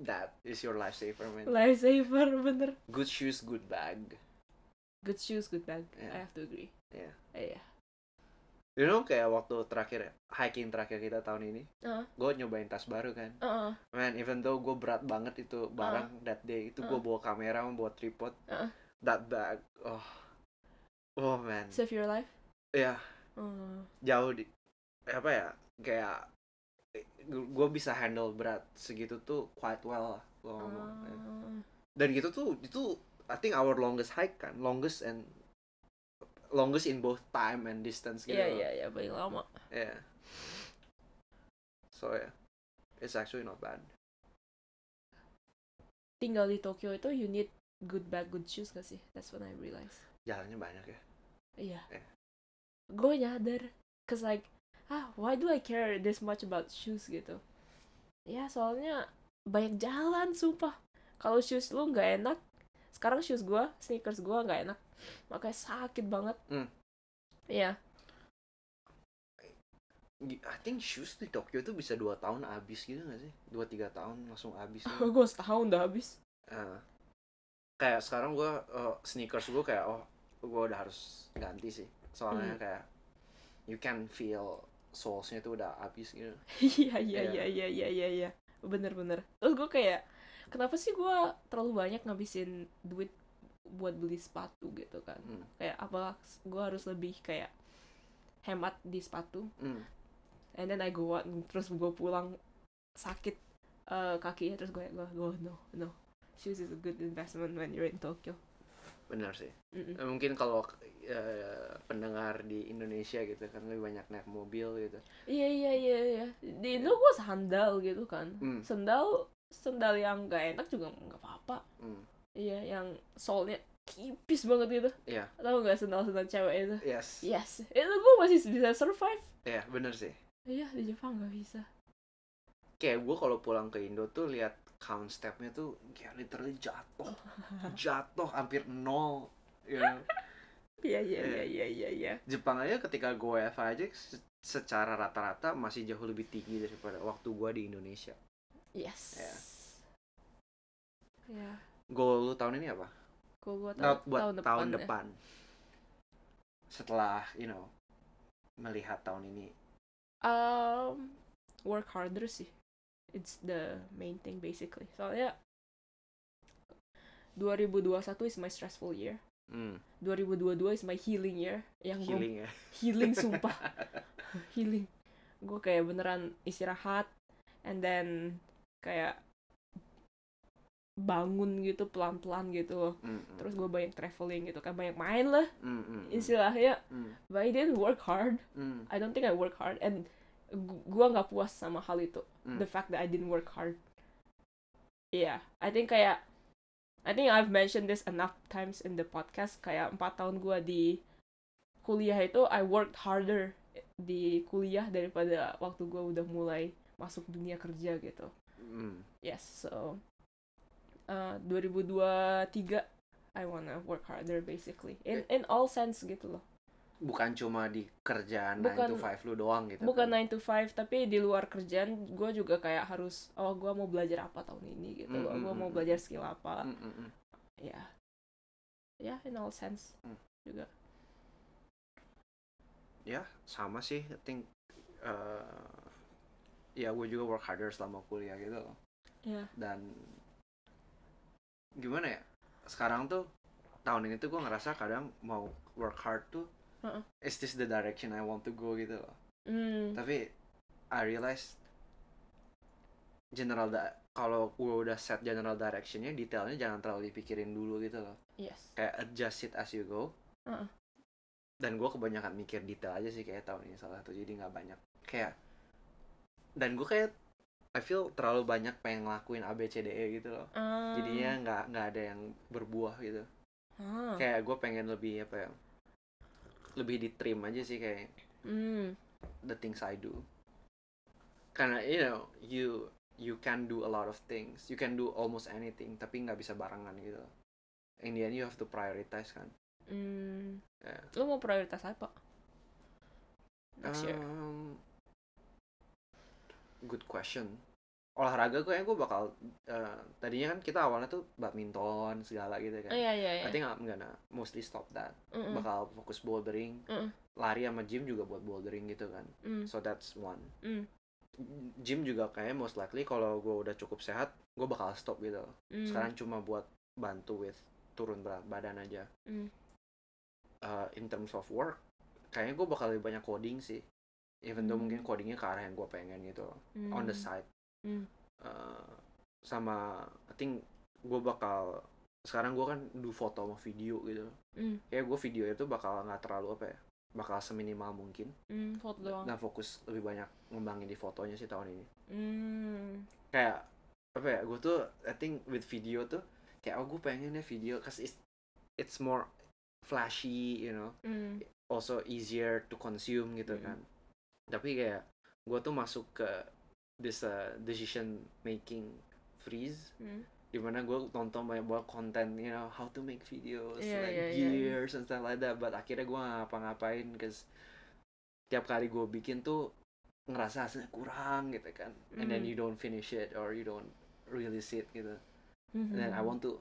Speaker 1: that is your lifesaver man
Speaker 2: Lifesaver bener.
Speaker 1: good shoes good bag
Speaker 2: Good shoes, good bag.
Speaker 1: Iya.
Speaker 2: I have to agree.
Speaker 1: Iya.
Speaker 2: Iya.
Speaker 1: You know kayak waktu terakhir hiking terakhir kita tahun ini,
Speaker 2: Uh.
Speaker 1: gue nyobain tas baru kan.
Speaker 2: Uh,
Speaker 1: Man, even though gue berat banget itu barang that day, itu gue
Speaker 2: Uh.
Speaker 1: bawa kamera, bawa tripod,
Speaker 2: Uh.
Speaker 1: that bag, oh, oh man,
Speaker 2: save your life.
Speaker 1: ya
Speaker 2: Uh,
Speaker 1: jauh di apa ya kayak gue bisa handle berat segitu tuh quite well lah gua ngomong.
Speaker 2: uh,
Speaker 1: dan gitu tuh itu I think our longest hike kan longest and longest in both time and distance gitu
Speaker 2: Iya
Speaker 1: loh.
Speaker 2: iya iya paling lama.
Speaker 1: Yeah. so yeah it's actually not bad
Speaker 2: Tinggal di Tokyo itu you need good bag, good shoes gak sih? That's when I realize.
Speaker 1: jalannya banyak ya
Speaker 2: Iya.
Speaker 1: Iya.
Speaker 2: Gue nyadar, cause like ah why do I care this much about shoes gitu? Ya soalnya banyak jalan sumpah. Kalau shoes lu nggak enak, sekarang shoes gua, sneakers gua nggak enak, makanya sakit banget.
Speaker 1: Hmm.
Speaker 2: Iya.
Speaker 1: Gi- I think shoes di Tokyo tuh bisa dua tahun abis gitu gak sih dua tiga tahun langsung abis gitu.
Speaker 2: gue Oh, setahun udah habis.
Speaker 1: Eh, kayak sekarang gue sneakers gue kayak oh gue udah harus ganti sih soalnya
Speaker 2: Hmm.
Speaker 1: kayak you can feel soles-nya tuh udah habis gitu
Speaker 2: Iya iya
Speaker 1: Iya.
Speaker 2: iya iya iya iya iya. bener bener. Terus gue kayak kenapa sih gue terlalu banyak ngabisin duit buat beli sepatu gitu kan?
Speaker 1: Hmm,
Speaker 2: Kayak apa gue harus lebih kayak hemat di sepatu.
Speaker 1: hmm.
Speaker 2: And then I go out terus gue pulang sakit eh, kakinya terus gue gue gue no no shoes is a good investment when you're in Tokyo.
Speaker 1: benar sih
Speaker 2: Mm-mm.
Speaker 1: Eh, mungkin kalau eh, pendengar di Indonesia gitu kan lebih banyak naik mobil gitu
Speaker 2: Iya iya iya iya. Di Indo gue sandal gitu kan.
Speaker 1: Hmm.
Speaker 2: Sandal sandal yang gak enak juga nggak apa-apa.
Speaker 1: Hmm.
Speaker 2: Iya, yang solnya tipis banget gitu.
Speaker 1: Iya.
Speaker 2: Tahu nggak sendal-sendal cewek itu?
Speaker 1: yes iya
Speaker 2: Yes. Itu gue masih bisa survive.
Speaker 1: benar sih
Speaker 2: Iya, di Jepang nggak bisa.
Speaker 1: kayak gue kalau pulang ke Indo tuh lihat count stepnya tuh kayak literally jatuh jatuh hampir nol you know.
Speaker 2: Iya, iya,
Speaker 1: Iya.
Speaker 2: iya, iya, iya, iya.
Speaker 1: Jepang aja ketika gue WFH aja se- secara rata-rata masih jauh lebih tinggi daripada waktu gue di Indonesia.
Speaker 2: Yes.
Speaker 1: Iya.
Speaker 2: Iya.
Speaker 1: Goal lu tahun ini apa?
Speaker 2: Gue gua tahu
Speaker 1: Not buat tahun depan.
Speaker 2: ya.
Speaker 1: Setelah you know melihat tahun ini.
Speaker 2: Um, work harder sih. It's the main thing basically. Soalnya 2021 is my stressful year.
Speaker 1: Hmm,
Speaker 2: 2022 is my healing year. Yang gue
Speaker 1: healing ya.
Speaker 2: healing sumpah healing gue kayak beneran istirahat and then kayak bangun gitu pelan-pelan gitu loh
Speaker 1: Hmm, hmm,
Speaker 2: terus gue banyak traveling gitu kan banyak main lah
Speaker 1: hmm, hmm, hmm,
Speaker 2: istilahnya
Speaker 1: hmm,
Speaker 2: but I didn't work hard
Speaker 1: hmm,
Speaker 2: I don't think I work hard and gu- gua nggak puas sama hal itu
Speaker 1: Hmm.
Speaker 2: the fact that I didn't work hard yeah I think kayak I think I've mentioned this enough times in the podcast kayak empat tahun gua di kuliah itu I worked harder di kuliah daripada waktu gua udah mulai masuk dunia kerja gitu
Speaker 1: hmm.
Speaker 2: yes so uh, 2023 I wanna work harder basically in in all sense gitu loh
Speaker 1: Bukan cuma di kerjaan 9 to
Speaker 2: Bukan-
Speaker 1: 5 lu doang gitu.
Speaker 2: bukan
Speaker 1: kan.
Speaker 2: 9 to 5 tapi di luar kerjaan gue juga kayak harus oh gue mau belajar apa tahun ini gitu
Speaker 1: Mm,
Speaker 2: loh
Speaker 1: mm,
Speaker 2: gue
Speaker 1: mm,
Speaker 2: mau
Speaker 1: mm.
Speaker 2: belajar skill apa
Speaker 1: Hmm, hmm, hmm.
Speaker 2: ya ya in all sense
Speaker 1: Mm.
Speaker 2: juga
Speaker 1: Ya, sama sih. I think eh, ya gue juga work harder selama kuliah gitu loh.
Speaker 2: ya
Speaker 1: dan gimana ya sekarang tuh tahun ini tuh gue ngerasa kadang mau work hard tuh
Speaker 2: Heeh.
Speaker 1: is this the direction I want to go gitu loh
Speaker 2: Hmm,
Speaker 1: tapi I realize general da- kalau gue udah set general directionnya detailnya jangan terlalu dipikirin dulu gitu loh
Speaker 2: yes
Speaker 1: kayak adjust it as you go
Speaker 2: Heeh.
Speaker 1: dan gue kebanyakan mikir detail aja sih kayak tahun ini salah satu jadi nggak banyak kayak dan gue kayak I feel terlalu banyak pengen ngelakuin ABCDE gitu loh
Speaker 2: Ah.
Speaker 1: jadinya nggak nggak ada yang berbuah gitu
Speaker 2: Ah.
Speaker 1: kayak gue pengen lebih apa ya lebih di trim aja sih kayak
Speaker 2: Hmm,
Speaker 1: the things I do karena you know you you can do a lot of things you can do almost anything tapi nggak bisa barengan gitu in the end you have to prioritize kan
Speaker 2: hmm.
Speaker 1: Yeah.
Speaker 2: lu mau prioritas apa next year
Speaker 1: Um, good question olahraga kok ya gue bakal eh, tadinya kan kita awalnya tuh badminton segala gitu kan.
Speaker 2: Iya iya Mm, iya.
Speaker 1: I think I'm gonna mostly stop that.
Speaker 2: Mm-mm.
Speaker 1: Bakal fokus bouldering,
Speaker 2: Mm-mm.
Speaker 1: lari sama gym juga buat bouldering gitu kan.
Speaker 2: Mm,
Speaker 1: So that's one.
Speaker 2: mm,
Speaker 1: Gym juga kayaknya most likely kalau gue udah cukup sehat, gue bakal stop gitu.
Speaker 2: mm.
Speaker 1: Sekarang cuma buat bantu with turun berat badan aja.
Speaker 2: Mm.
Speaker 1: Uh, in terms of work, kayaknya gue bakal lebih banyak coding sih. Even though
Speaker 2: Hmm.
Speaker 1: mungkin codingnya ke arah yang gue pengen gitu,
Speaker 2: Mm.
Speaker 1: on the side.
Speaker 2: Hmm.
Speaker 1: Uh, sama, I think gue bakal sekarang gue kan do foto sama video gitu.
Speaker 2: Mm,
Speaker 1: Kayak gue video itu bakal nggak terlalu apa ya, bakal seminimal mungkin
Speaker 2: mm, foto doang.
Speaker 1: dan fokus lebih banyak ngembangin di fotonya sih tahun ini.
Speaker 2: Mm.
Speaker 1: kayak apa ya gue tuh I think with video tuh kayak oh gue pengen ya video cause it's it's more flashy you know
Speaker 2: Mm.
Speaker 1: also easier to consume gitu
Speaker 2: Mm.
Speaker 1: kan tapi kayak gue tuh masuk ke this uh, decision making freeze
Speaker 2: Mm.
Speaker 1: dimana gue nonton banyak banget konten you know how to make videos
Speaker 2: Iya,
Speaker 1: like
Speaker 2: iya, iya, iya.
Speaker 1: gears and stuff like that but akhirnya gue ngapa-ngapain cause tiap kali gue bikin tuh ngerasa hasilnya kurang gitu kan and then
Speaker 2: Mm.
Speaker 1: you don't finish it or you don't release it gitu and then
Speaker 2: mm,
Speaker 1: I
Speaker 2: Hmm.
Speaker 1: want to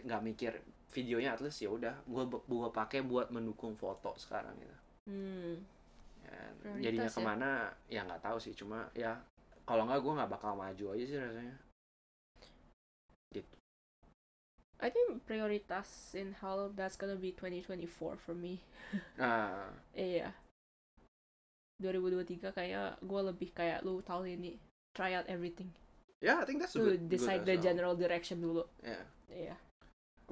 Speaker 1: nggak mikir videonya at least ya udah gue gue pakai buat mendukung foto sekarang gitu
Speaker 2: Mm.
Speaker 1: And
Speaker 2: Prioritas
Speaker 1: jadinya
Speaker 2: ya?
Speaker 1: kemana ya nggak tahu sih cuma ya kalau nggak gue nggak bakal maju aja sih rasanya
Speaker 2: I think prioritas in how that's gonna be 2024 for me.
Speaker 1: nah
Speaker 2: Iya. 2023 kayak gue lebih kayak lu tahun ini try out everything.
Speaker 1: ya I think that's
Speaker 2: Lu
Speaker 1: good
Speaker 2: decide the general direction dulu.
Speaker 1: ya
Speaker 2: Iya.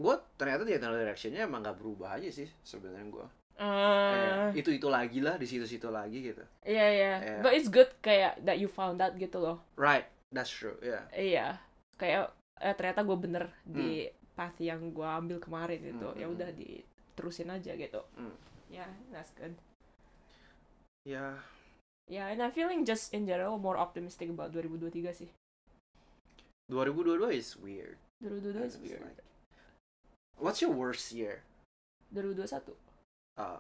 Speaker 1: gue ternyata general directionnya emang nggak berubah aja sih sebenarnya gue
Speaker 2: Ah,
Speaker 1: itu itu lagi lah di situ situ lagi gitu
Speaker 2: Iya iya.
Speaker 1: Iya.
Speaker 2: But it's good kayak that you found out gitu loh.
Speaker 1: right that's true ya
Speaker 2: Iya. Kayak eh, ternyata gue bener di path yang gue ambil kemarin
Speaker 1: Hmm,
Speaker 2: gitu. Ya
Speaker 1: hmm,
Speaker 2: udah diterusin aja gitu.
Speaker 1: Hmm.
Speaker 2: Ya, that's good.
Speaker 1: ya
Speaker 2: Ya, and I'm feeling just in general more optimistic about 2023 sih.
Speaker 1: 2022 is weird
Speaker 2: 2022
Speaker 1: It's
Speaker 2: is weird.
Speaker 1: like- what's your worst year
Speaker 2: 2021.
Speaker 1: uh,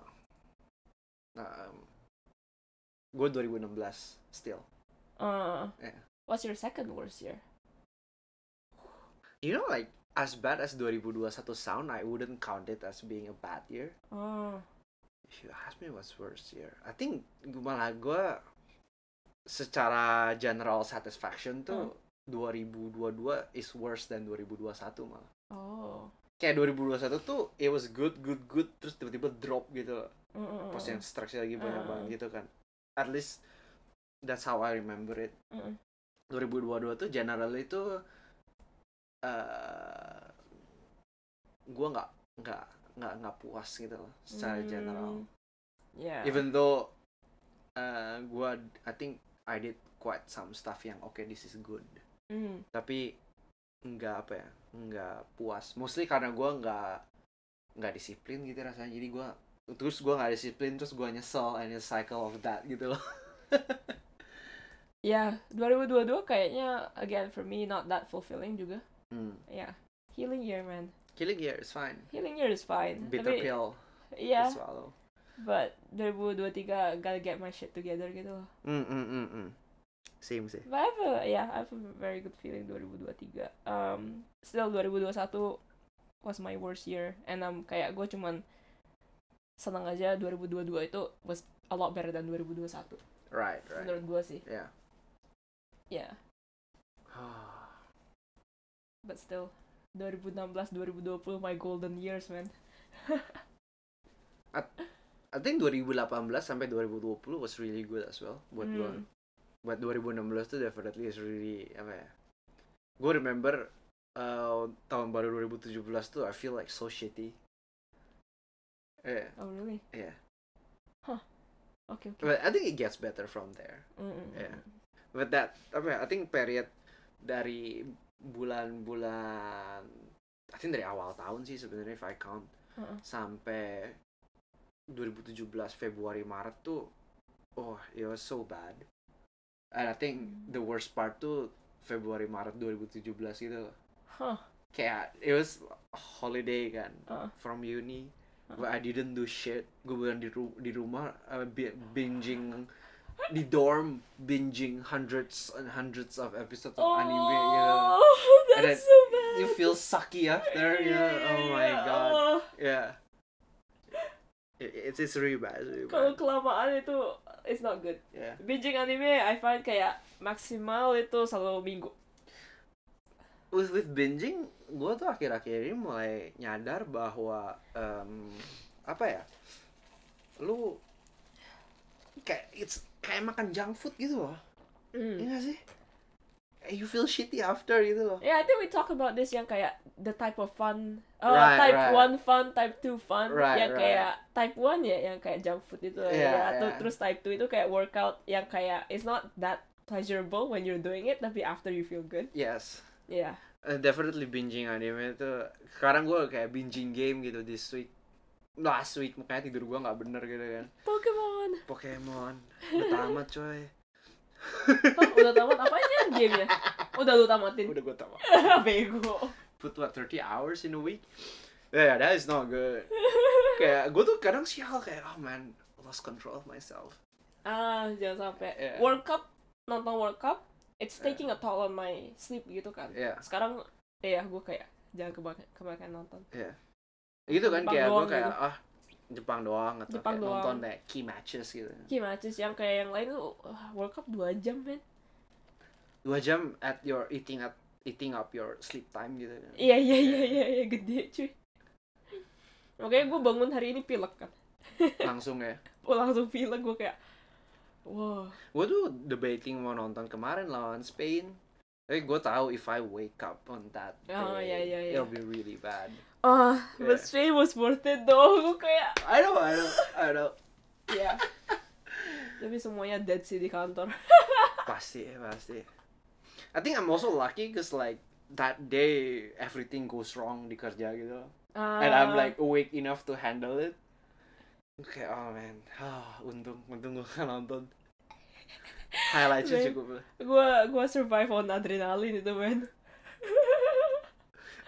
Speaker 1: um, gue 2016 still
Speaker 2: Uh,
Speaker 1: Yeah.
Speaker 2: What's your second worst year?
Speaker 1: you know like as bad as 2021 sound I wouldn't count it as being a bad year
Speaker 2: Oh,
Speaker 1: if you ask me what's worst year I think gu- malah gue secara general satisfaction tuh 2022 is worse than 2021 malah
Speaker 2: oh.
Speaker 1: kayak 2021 tuh it was good good good terus tiba-tiba drop gitu loh
Speaker 2: Mm, mm, mm,
Speaker 1: pas yang strike lagi banyak
Speaker 2: Mm.
Speaker 1: banget gitu kan at least that's how I remember it
Speaker 2: mm, mm.
Speaker 1: 2022 tuh general itu eh gue nggak nggak nggak nggak puas gitu loh secara
Speaker 2: Hmm,
Speaker 1: general
Speaker 2: Yeah.
Speaker 1: even though eh gue I think I did quite some stuff yang oke this is good
Speaker 2: Mm,
Speaker 1: tapi nggak apa ya nggak puas mostly karena gue nggak nggak disiplin gitu rasanya jadi gue terus gue nggak disiplin terus gue nyesel and it's cycle of that gitu loh
Speaker 2: Yeah, 2022 kayaknya again for me not that fulfilling juga.
Speaker 1: hmm.
Speaker 2: Yeah. Healing year, man.
Speaker 1: killing year is fine
Speaker 2: Healing year is fine.
Speaker 1: bitter
Speaker 2: Hmm. Tapi,
Speaker 1: pill
Speaker 2: Yeah,
Speaker 1: to swallow
Speaker 2: but 2023 gotta get my shit together gitu loh.
Speaker 1: Mm, mm, mm, mm. Same sih.
Speaker 2: But I have a, yeah, I have a very good feeling 2023. Um, still 2021 was my worst year, and I'm kayak gue cuman senang aja 2022 itu was a lot better than 2021
Speaker 1: Right, right.
Speaker 2: menurut gue sih.
Speaker 1: Yeah.
Speaker 2: Yeah, but still 2016 2020 my golden years man.
Speaker 1: I think 2018 sampai 2020 was really good as well buat gua.
Speaker 2: Hmm.
Speaker 1: Buat 2016 tuh definitely is really apa ya? Gue remember uh, tahun baru 2017 tuh I feel like so shitty. Yeah,
Speaker 2: Oh really?
Speaker 1: yeah.
Speaker 2: Oke oke.
Speaker 1: But I think it gets better from there.
Speaker 2: Mm, mm,
Speaker 1: Yeah.
Speaker 2: mm.
Speaker 1: But that apa ya? I think period dari bulan-bulan I think dari awal tahun sih sebenarnya if I count
Speaker 2: Uh-uh.
Speaker 1: sampai 2017 Februari Maret tuh oh it was so bad and I think the worst part tuh Februari Maret 2017 gitu loh.
Speaker 2: Huh.
Speaker 1: kayak it was holiday kan
Speaker 2: Uh.
Speaker 1: from uni but I didn't do shit gue beneran di, ru- di rumah uh, bi- binging di dorm binging hundreds and hundreds of episodes of
Speaker 2: Oh,
Speaker 1: anime you know And then
Speaker 2: that's so bad.
Speaker 1: you feel sucky after you know oh my
Speaker 2: Iya.
Speaker 1: god
Speaker 2: Oh,
Speaker 1: yeah It- it's it's really bad, really bad.
Speaker 2: kalau kelamaan itu it's not good.
Speaker 1: yeah
Speaker 2: Binging anime I find kayak maksimal itu satu minggu.
Speaker 1: with with binging gue tuh akhir-akhir ini mulai nyadar bahwa em, apa ya lu kayak it's kayak makan junk food gitu loh Iya
Speaker 2: Mm.
Speaker 1: gak sih Eh, you feel shitty after gitu loh
Speaker 2: Yeah, I think we talk about this yang kayak the type of fun, uh,
Speaker 1: Right,
Speaker 2: type
Speaker 1: right.
Speaker 2: one fun, type two fun,
Speaker 1: Right,
Speaker 2: yang
Speaker 1: right.
Speaker 2: kayak type one ya, yang kayak junk food itu, ya.
Speaker 1: Yeah,
Speaker 2: Atau
Speaker 1: yeah.
Speaker 2: terus type two itu kayak workout yang kayak it's not that pleasurable when you're doing it, tapi after you feel good,
Speaker 1: yes
Speaker 2: yeah.
Speaker 1: Uh, definitely binging anime itu sekarang gue kayak binging game gitu this week last week makanya tidur gue nggak bener gitu kan
Speaker 2: Pokemon,
Speaker 1: Pokemon udah tamat coy
Speaker 2: Hah, Oh, udah tamat apanya gamenya? Udah lu tamatin?
Speaker 1: udah gue tamat
Speaker 2: Bego.
Speaker 1: put what 30 hours in a week yeah that is not good kayak gue tuh kadang sial kayak oh man lost control of myself
Speaker 2: Ah, jangan sampai.
Speaker 1: Yeah.
Speaker 2: World Cup, nonton World Cup, it's taking a toll on my sleep gitu kan.
Speaker 1: Yeah.
Speaker 2: Sekarang, ya gue kayak jangan kebanyakan, kebanyakan nonton.
Speaker 1: gitu kan
Speaker 2: Jepang
Speaker 1: kayak gue
Speaker 2: doang
Speaker 1: kayak ah Jepang doang atau
Speaker 2: Jepang
Speaker 1: kayak
Speaker 2: doang.
Speaker 1: nonton kayak key matches gitu
Speaker 2: Gimana sih yang kayak yang lain tuh wah, World Cup 2 jam men.
Speaker 1: dua jam at your eating at eating up your sleep time gitu kan
Speaker 2: Iya iya iya iya iya gede cuy. Makanya gue bangun hari ini pilek kan.
Speaker 1: langsung ya
Speaker 2: Gue langsung pilek gue kayak wow.
Speaker 1: gue tuh debating mau nonton kemarin lawan Spain tapi gue tahu if I wake up on that day,
Speaker 2: Oh, iya, iya, iya.
Speaker 1: it'll be really bad
Speaker 2: Ah, but Spain was worth it though. Gue kayak
Speaker 1: I know I know I know
Speaker 2: ya. Tapi semuanya dead sih di kantor.
Speaker 1: pasti pasti I think I'm also lucky cause like that day everything goes wrong di kerja gitu
Speaker 2: Ah,
Speaker 1: and I'm like awake enough to handle it kayak oh man ah untung untung gue kan nonton highlightnya
Speaker 2: Man.
Speaker 1: cukup
Speaker 2: gue gue survive on adrenalin itu men.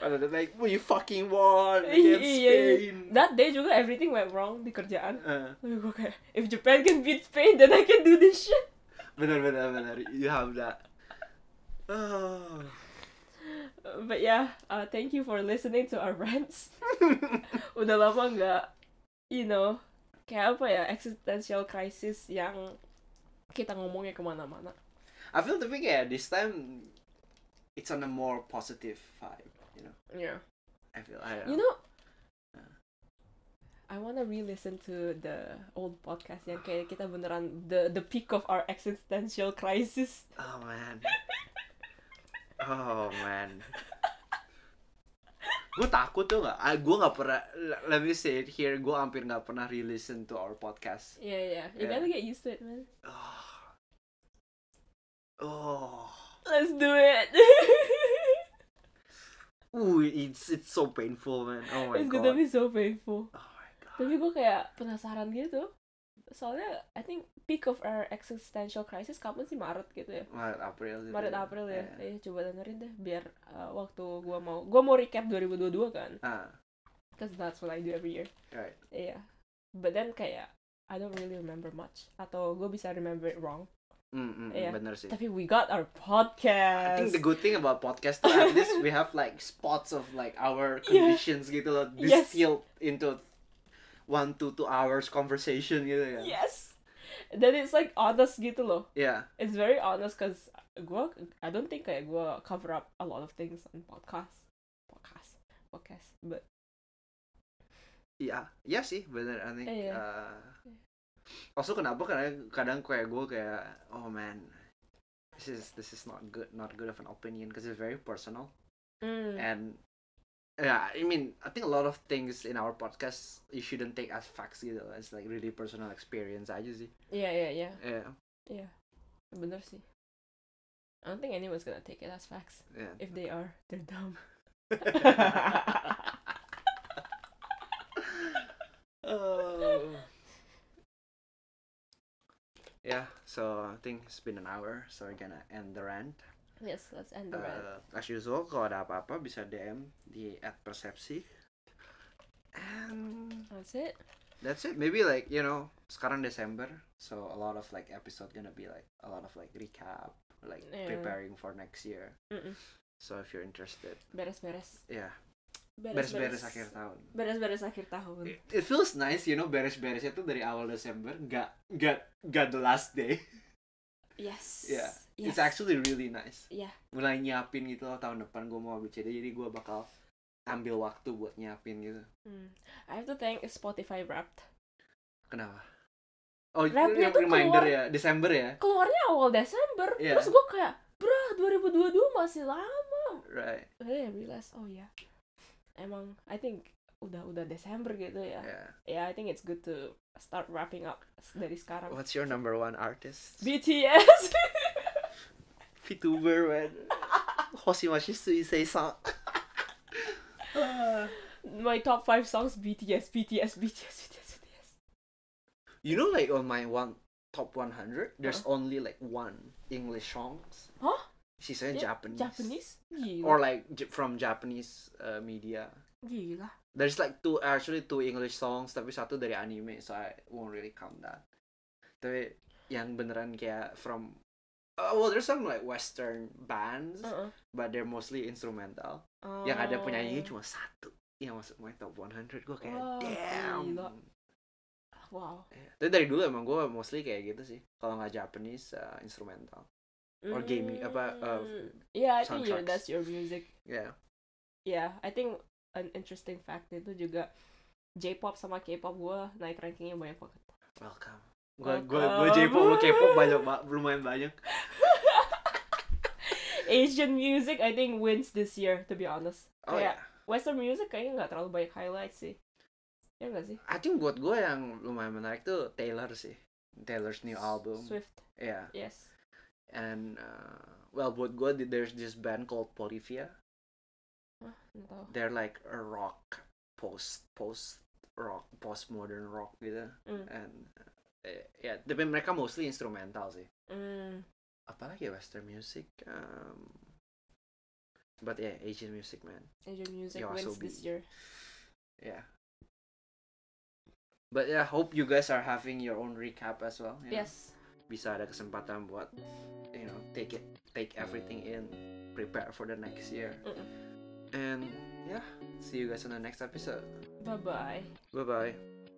Speaker 1: Other than like we fucking won
Speaker 2: Iya,
Speaker 1: against
Speaker 2: iya, iya.
Speaker 1: Spain
Speaker 2: That day juga everything went wrong di kerjaan.
Speaker 1: Eh,
Speaker 2: Tapi gue kayak if Japan can beat Spain then I can do this shit.
Speaker 1: benar benar benar you have that oh.
Speaker 2: Uh, But yeah, uh, thank you for listening to our rants. Udah lama nggak, you know, kayak apa ya existential crisis yang kita ngomongnya kemana-mana.
Speaker 1: I feel tapi kayak this time it's on a more positive vibe you know
Speaker 2: Yeah.
Speaker 1: I feel I
Speaker 2: You know, I wanna re-listen to the old podcast yang kayak kita beneran the the peak of our existential crisis.
Speaker 1: Oh man. Oh man. Gue takut tuh nggak. Ah, gue nggak pernah. le- Let me say it here. Gue hampir nggak pernah re-listen to our podcast.
Speaker 2: Yeah, yeah. You
Speaker 1: Yeah.
Speaker 2: gotta get used to it, man.
Speaker 1: Oh. Oh.
Speaker 2: Let's do it.
Speaker 1: Ooh, it's it's so painful, man. Oh my
Speaker 2: It's gonna
Speaker 1: god.
Speaker 2: be so painful.
Speaker 1: Oh my god.
Speaker 2: tapi gue kayak penasaran gitu soalnya I think peak of our existential crisis kapan sih Maret gitu ya
Speaker 1: Maret April. gitu
Speaker 2: Maret April ya
Speaker 1: Iya.
Speaker 2: eh coba dengerin deh biar uh, waktu gue mau gue mau recap 2022 kan
Speaker 1: Ah,
Speaker 2: cause that's what I do every year
Speaker 1: right.
Speaker 2: iya but then kayak I don't really remember much atau gue bisa remember it wrong
Speaker 1: Mm, mm, mm,
Speaker 2: Iya.
Speaker 1: Bener sih.
Speaker 2: tapi we got our
Speaker 1: I
Speaker 2: podcast
Speaker 1: think the good thing about podcast tuh at least we have like spots of like our
Speaker 2: Yeah.
Speaker 1: conditions gitu loh
Speaker 2: Yes.
Speaker 1: distilled into one to two hours conversation gitu ya.
Speaker 2: yes then it's like honest gitu loh
Speaker 1: Yeah.
Speaker 2: it's very honest cause gue I don't think kayak gue cover up a lot of things on podcast podcast podcast but
Speaker 1: Iya, iya sih bener I think
Speaker 2: Iya.
Speaker 1: uh, also kenapa karena kadang kayak gue kayak oh man this is this is not good not good of an opinion because it's very personal
Speaker 2: Hmm. Mm.
Speaker 1: and yeah I mean I think a lot of things in our podcast you shouldn't take as facts gitu loh. it's like really personal experience aja sih
Speaker 2: yeah yeah yeah
Speaker 1: yeah
Speaker 2: yeah bener sih I don't think anyone's gonna take it as facts
Speaker 1: yeah
Speaker 2: if they are they're dumb
Speaker 1: Oh. Yeah, so I think it's been an hour, so we're gonna end the rant.
Speaker 2: yes let's end the rant
Speaker 1: Uh, as usual, kalau ada apa-apa bisa DM di @persepsi. And
Speaker 2: that's it
Speaker 1: that's it. Maybe like you know sekarang Desember, so a lot of like episode gonna be like a lot of like recap, like
Speaker 2: Yeah.
Speaker 1: preparing for next year.
Speaker 2: Mm-mm.
Speaker 1: So if you're interested,
Speaker 2: Beres-beres.
Speaker 1: yeah,
Speaker 2: Beres-beres
Speaker 1: beres-beres akhir tahun.
Speaker 2: Beres-beres akhir tahun.
Speaker 1: It, it feels nice, you know, beres-beresnya tuh dari awal Desember, nggak nggak nggak the last day.
Speaker 2: Yes.
Speaker 1: Yeah.
Speaker 2: Yes. Iya.
Speaker 1: It's actually really nice.
Speaker 2: Yeah.
Speaker 1: Mulai nyiapin gitu loh tahun depan gue mau BCD, jadi gue bakal ambil waktu buat nyiapin gitu.
Speaker 2: Hmm. I have to thank Spotify Wrapped.
Speaker 1: Kenapa? Oh, itu
Speaker 2: Rapnya
Speaker 1: yang
Speaker 2: tuh
Speaker 1: reminder
Speaker 2: keluar-
Speaker 1: ya, Desember ya.
Speaker 2: Keluarnya awal Desember.
Speaker 1: Yeah.
Speaker 2: Terus gue kayak, brah 2022 masih lama.
Speaker 1: Right.
Speaker 2: Then I realize, oh ya. Emang, I think udah udah Desember gitu ya.
Speaker 1: Yeah.
Speaker 2: Yeah, I think it's good to start wrapping up s- dari sekarang.
Speaker 1: What's your number one artist?
Speaker 2: BTS.
Speaker 1: VTuber, man. Hoshimashi Suisei san. Ah.
Speaker 2: My top five songs BTS, BTS, BTS, BTS, BTS.
Speaker 1: You know, like on my one top 100, there's only like one English songs.
Speaker 2: Uh-huh. Huh?
Speaker 1: She's saying
Speaker 2: Yeah,
Speaker 1: Japanese.
Speaker 2: Japanese? Gila.
Speaker 1: Or like j- from Japanese uh, media.
Speaker 2: Gila.
Speaker 1: There's like two actually two English songs, tapi satu dari anime, so I won't really count that. Tapi yang beneran kayak from uh, well, there's some like Western bands,
Speaker 2: Uh-uh.
Speaker 1: but they're mostly instrumental. yang ada
Speaker 2: Oh.
Speaker 1: penyanyinya cuma satu yang masuk my top 100 gue kayak
Speaker 2: Wah,
Speaker 1: damn
Speaker 2: gila. Oh, Wow.
Speaker 1: Eh, tapi dari dulu emang gue mostly kayak gitu sih kalau nggak Japanese uh, instrumental Or gaming, apa, uh,
Speaker 2: Mm, yeah, I think your,
Speaker 1: soundtracks.
Speaker 2: that's your music.
Speaker 1: ya
Speaker 2: Yeah, I think an interesting fact itu juga J-pop sama K-pop gue naik rankingnya banyak banget.
Speaker 1: welcome gue gue gue
Speaker 2: Welcome.
Speaker 1: J-pop lu K-pop banyak ba- lumayan banyak
Speaker 2: Asian music I think wins this year to be honest.
Speaker 1: oh ya
Speaker 2: Kayak Western music kayaknya nggak terlalu banyak highlight sih. Ya nggak sih?
Speaker 1: I think buat gue yang lumayan menarik tuh Taylor sih Taylor's new album
Speaker 2: Swift.
Speaker 1: yeah
Speaker 2: Yes.
Speaker 1: and uh, well buat gue there's this band called Polyphia
Speaker 2: Ah, nggak tahu.
Speaker 1: they're like a rock post post rock postmodern rock gitu
Speaker 2: Mm.
Speaker 1: and eh, ya tapi mereka mostly instrumental sih
Speaker 2: Mm,
Speaker 1: apalagi ya western music um, but yeah Asian music man
Speaker 2: Asian music
Speaker 1: Yo,
Speaker 2: wins
Speaker 1: SOB.
Speaker 2: this year.
Speaker 1: yeah but yeah hope you guys are having your own recap as well you know.
Speaker 2: Yes.
Speaker 1: bisa ada kesempatan buat you know take it take everything in prepare for the next year
Speaker 2: Mm-mm.
Speaker 1: and yeah see you guys on the next episode
Speaker 2: Bye bye.
Speaker 1: bye bye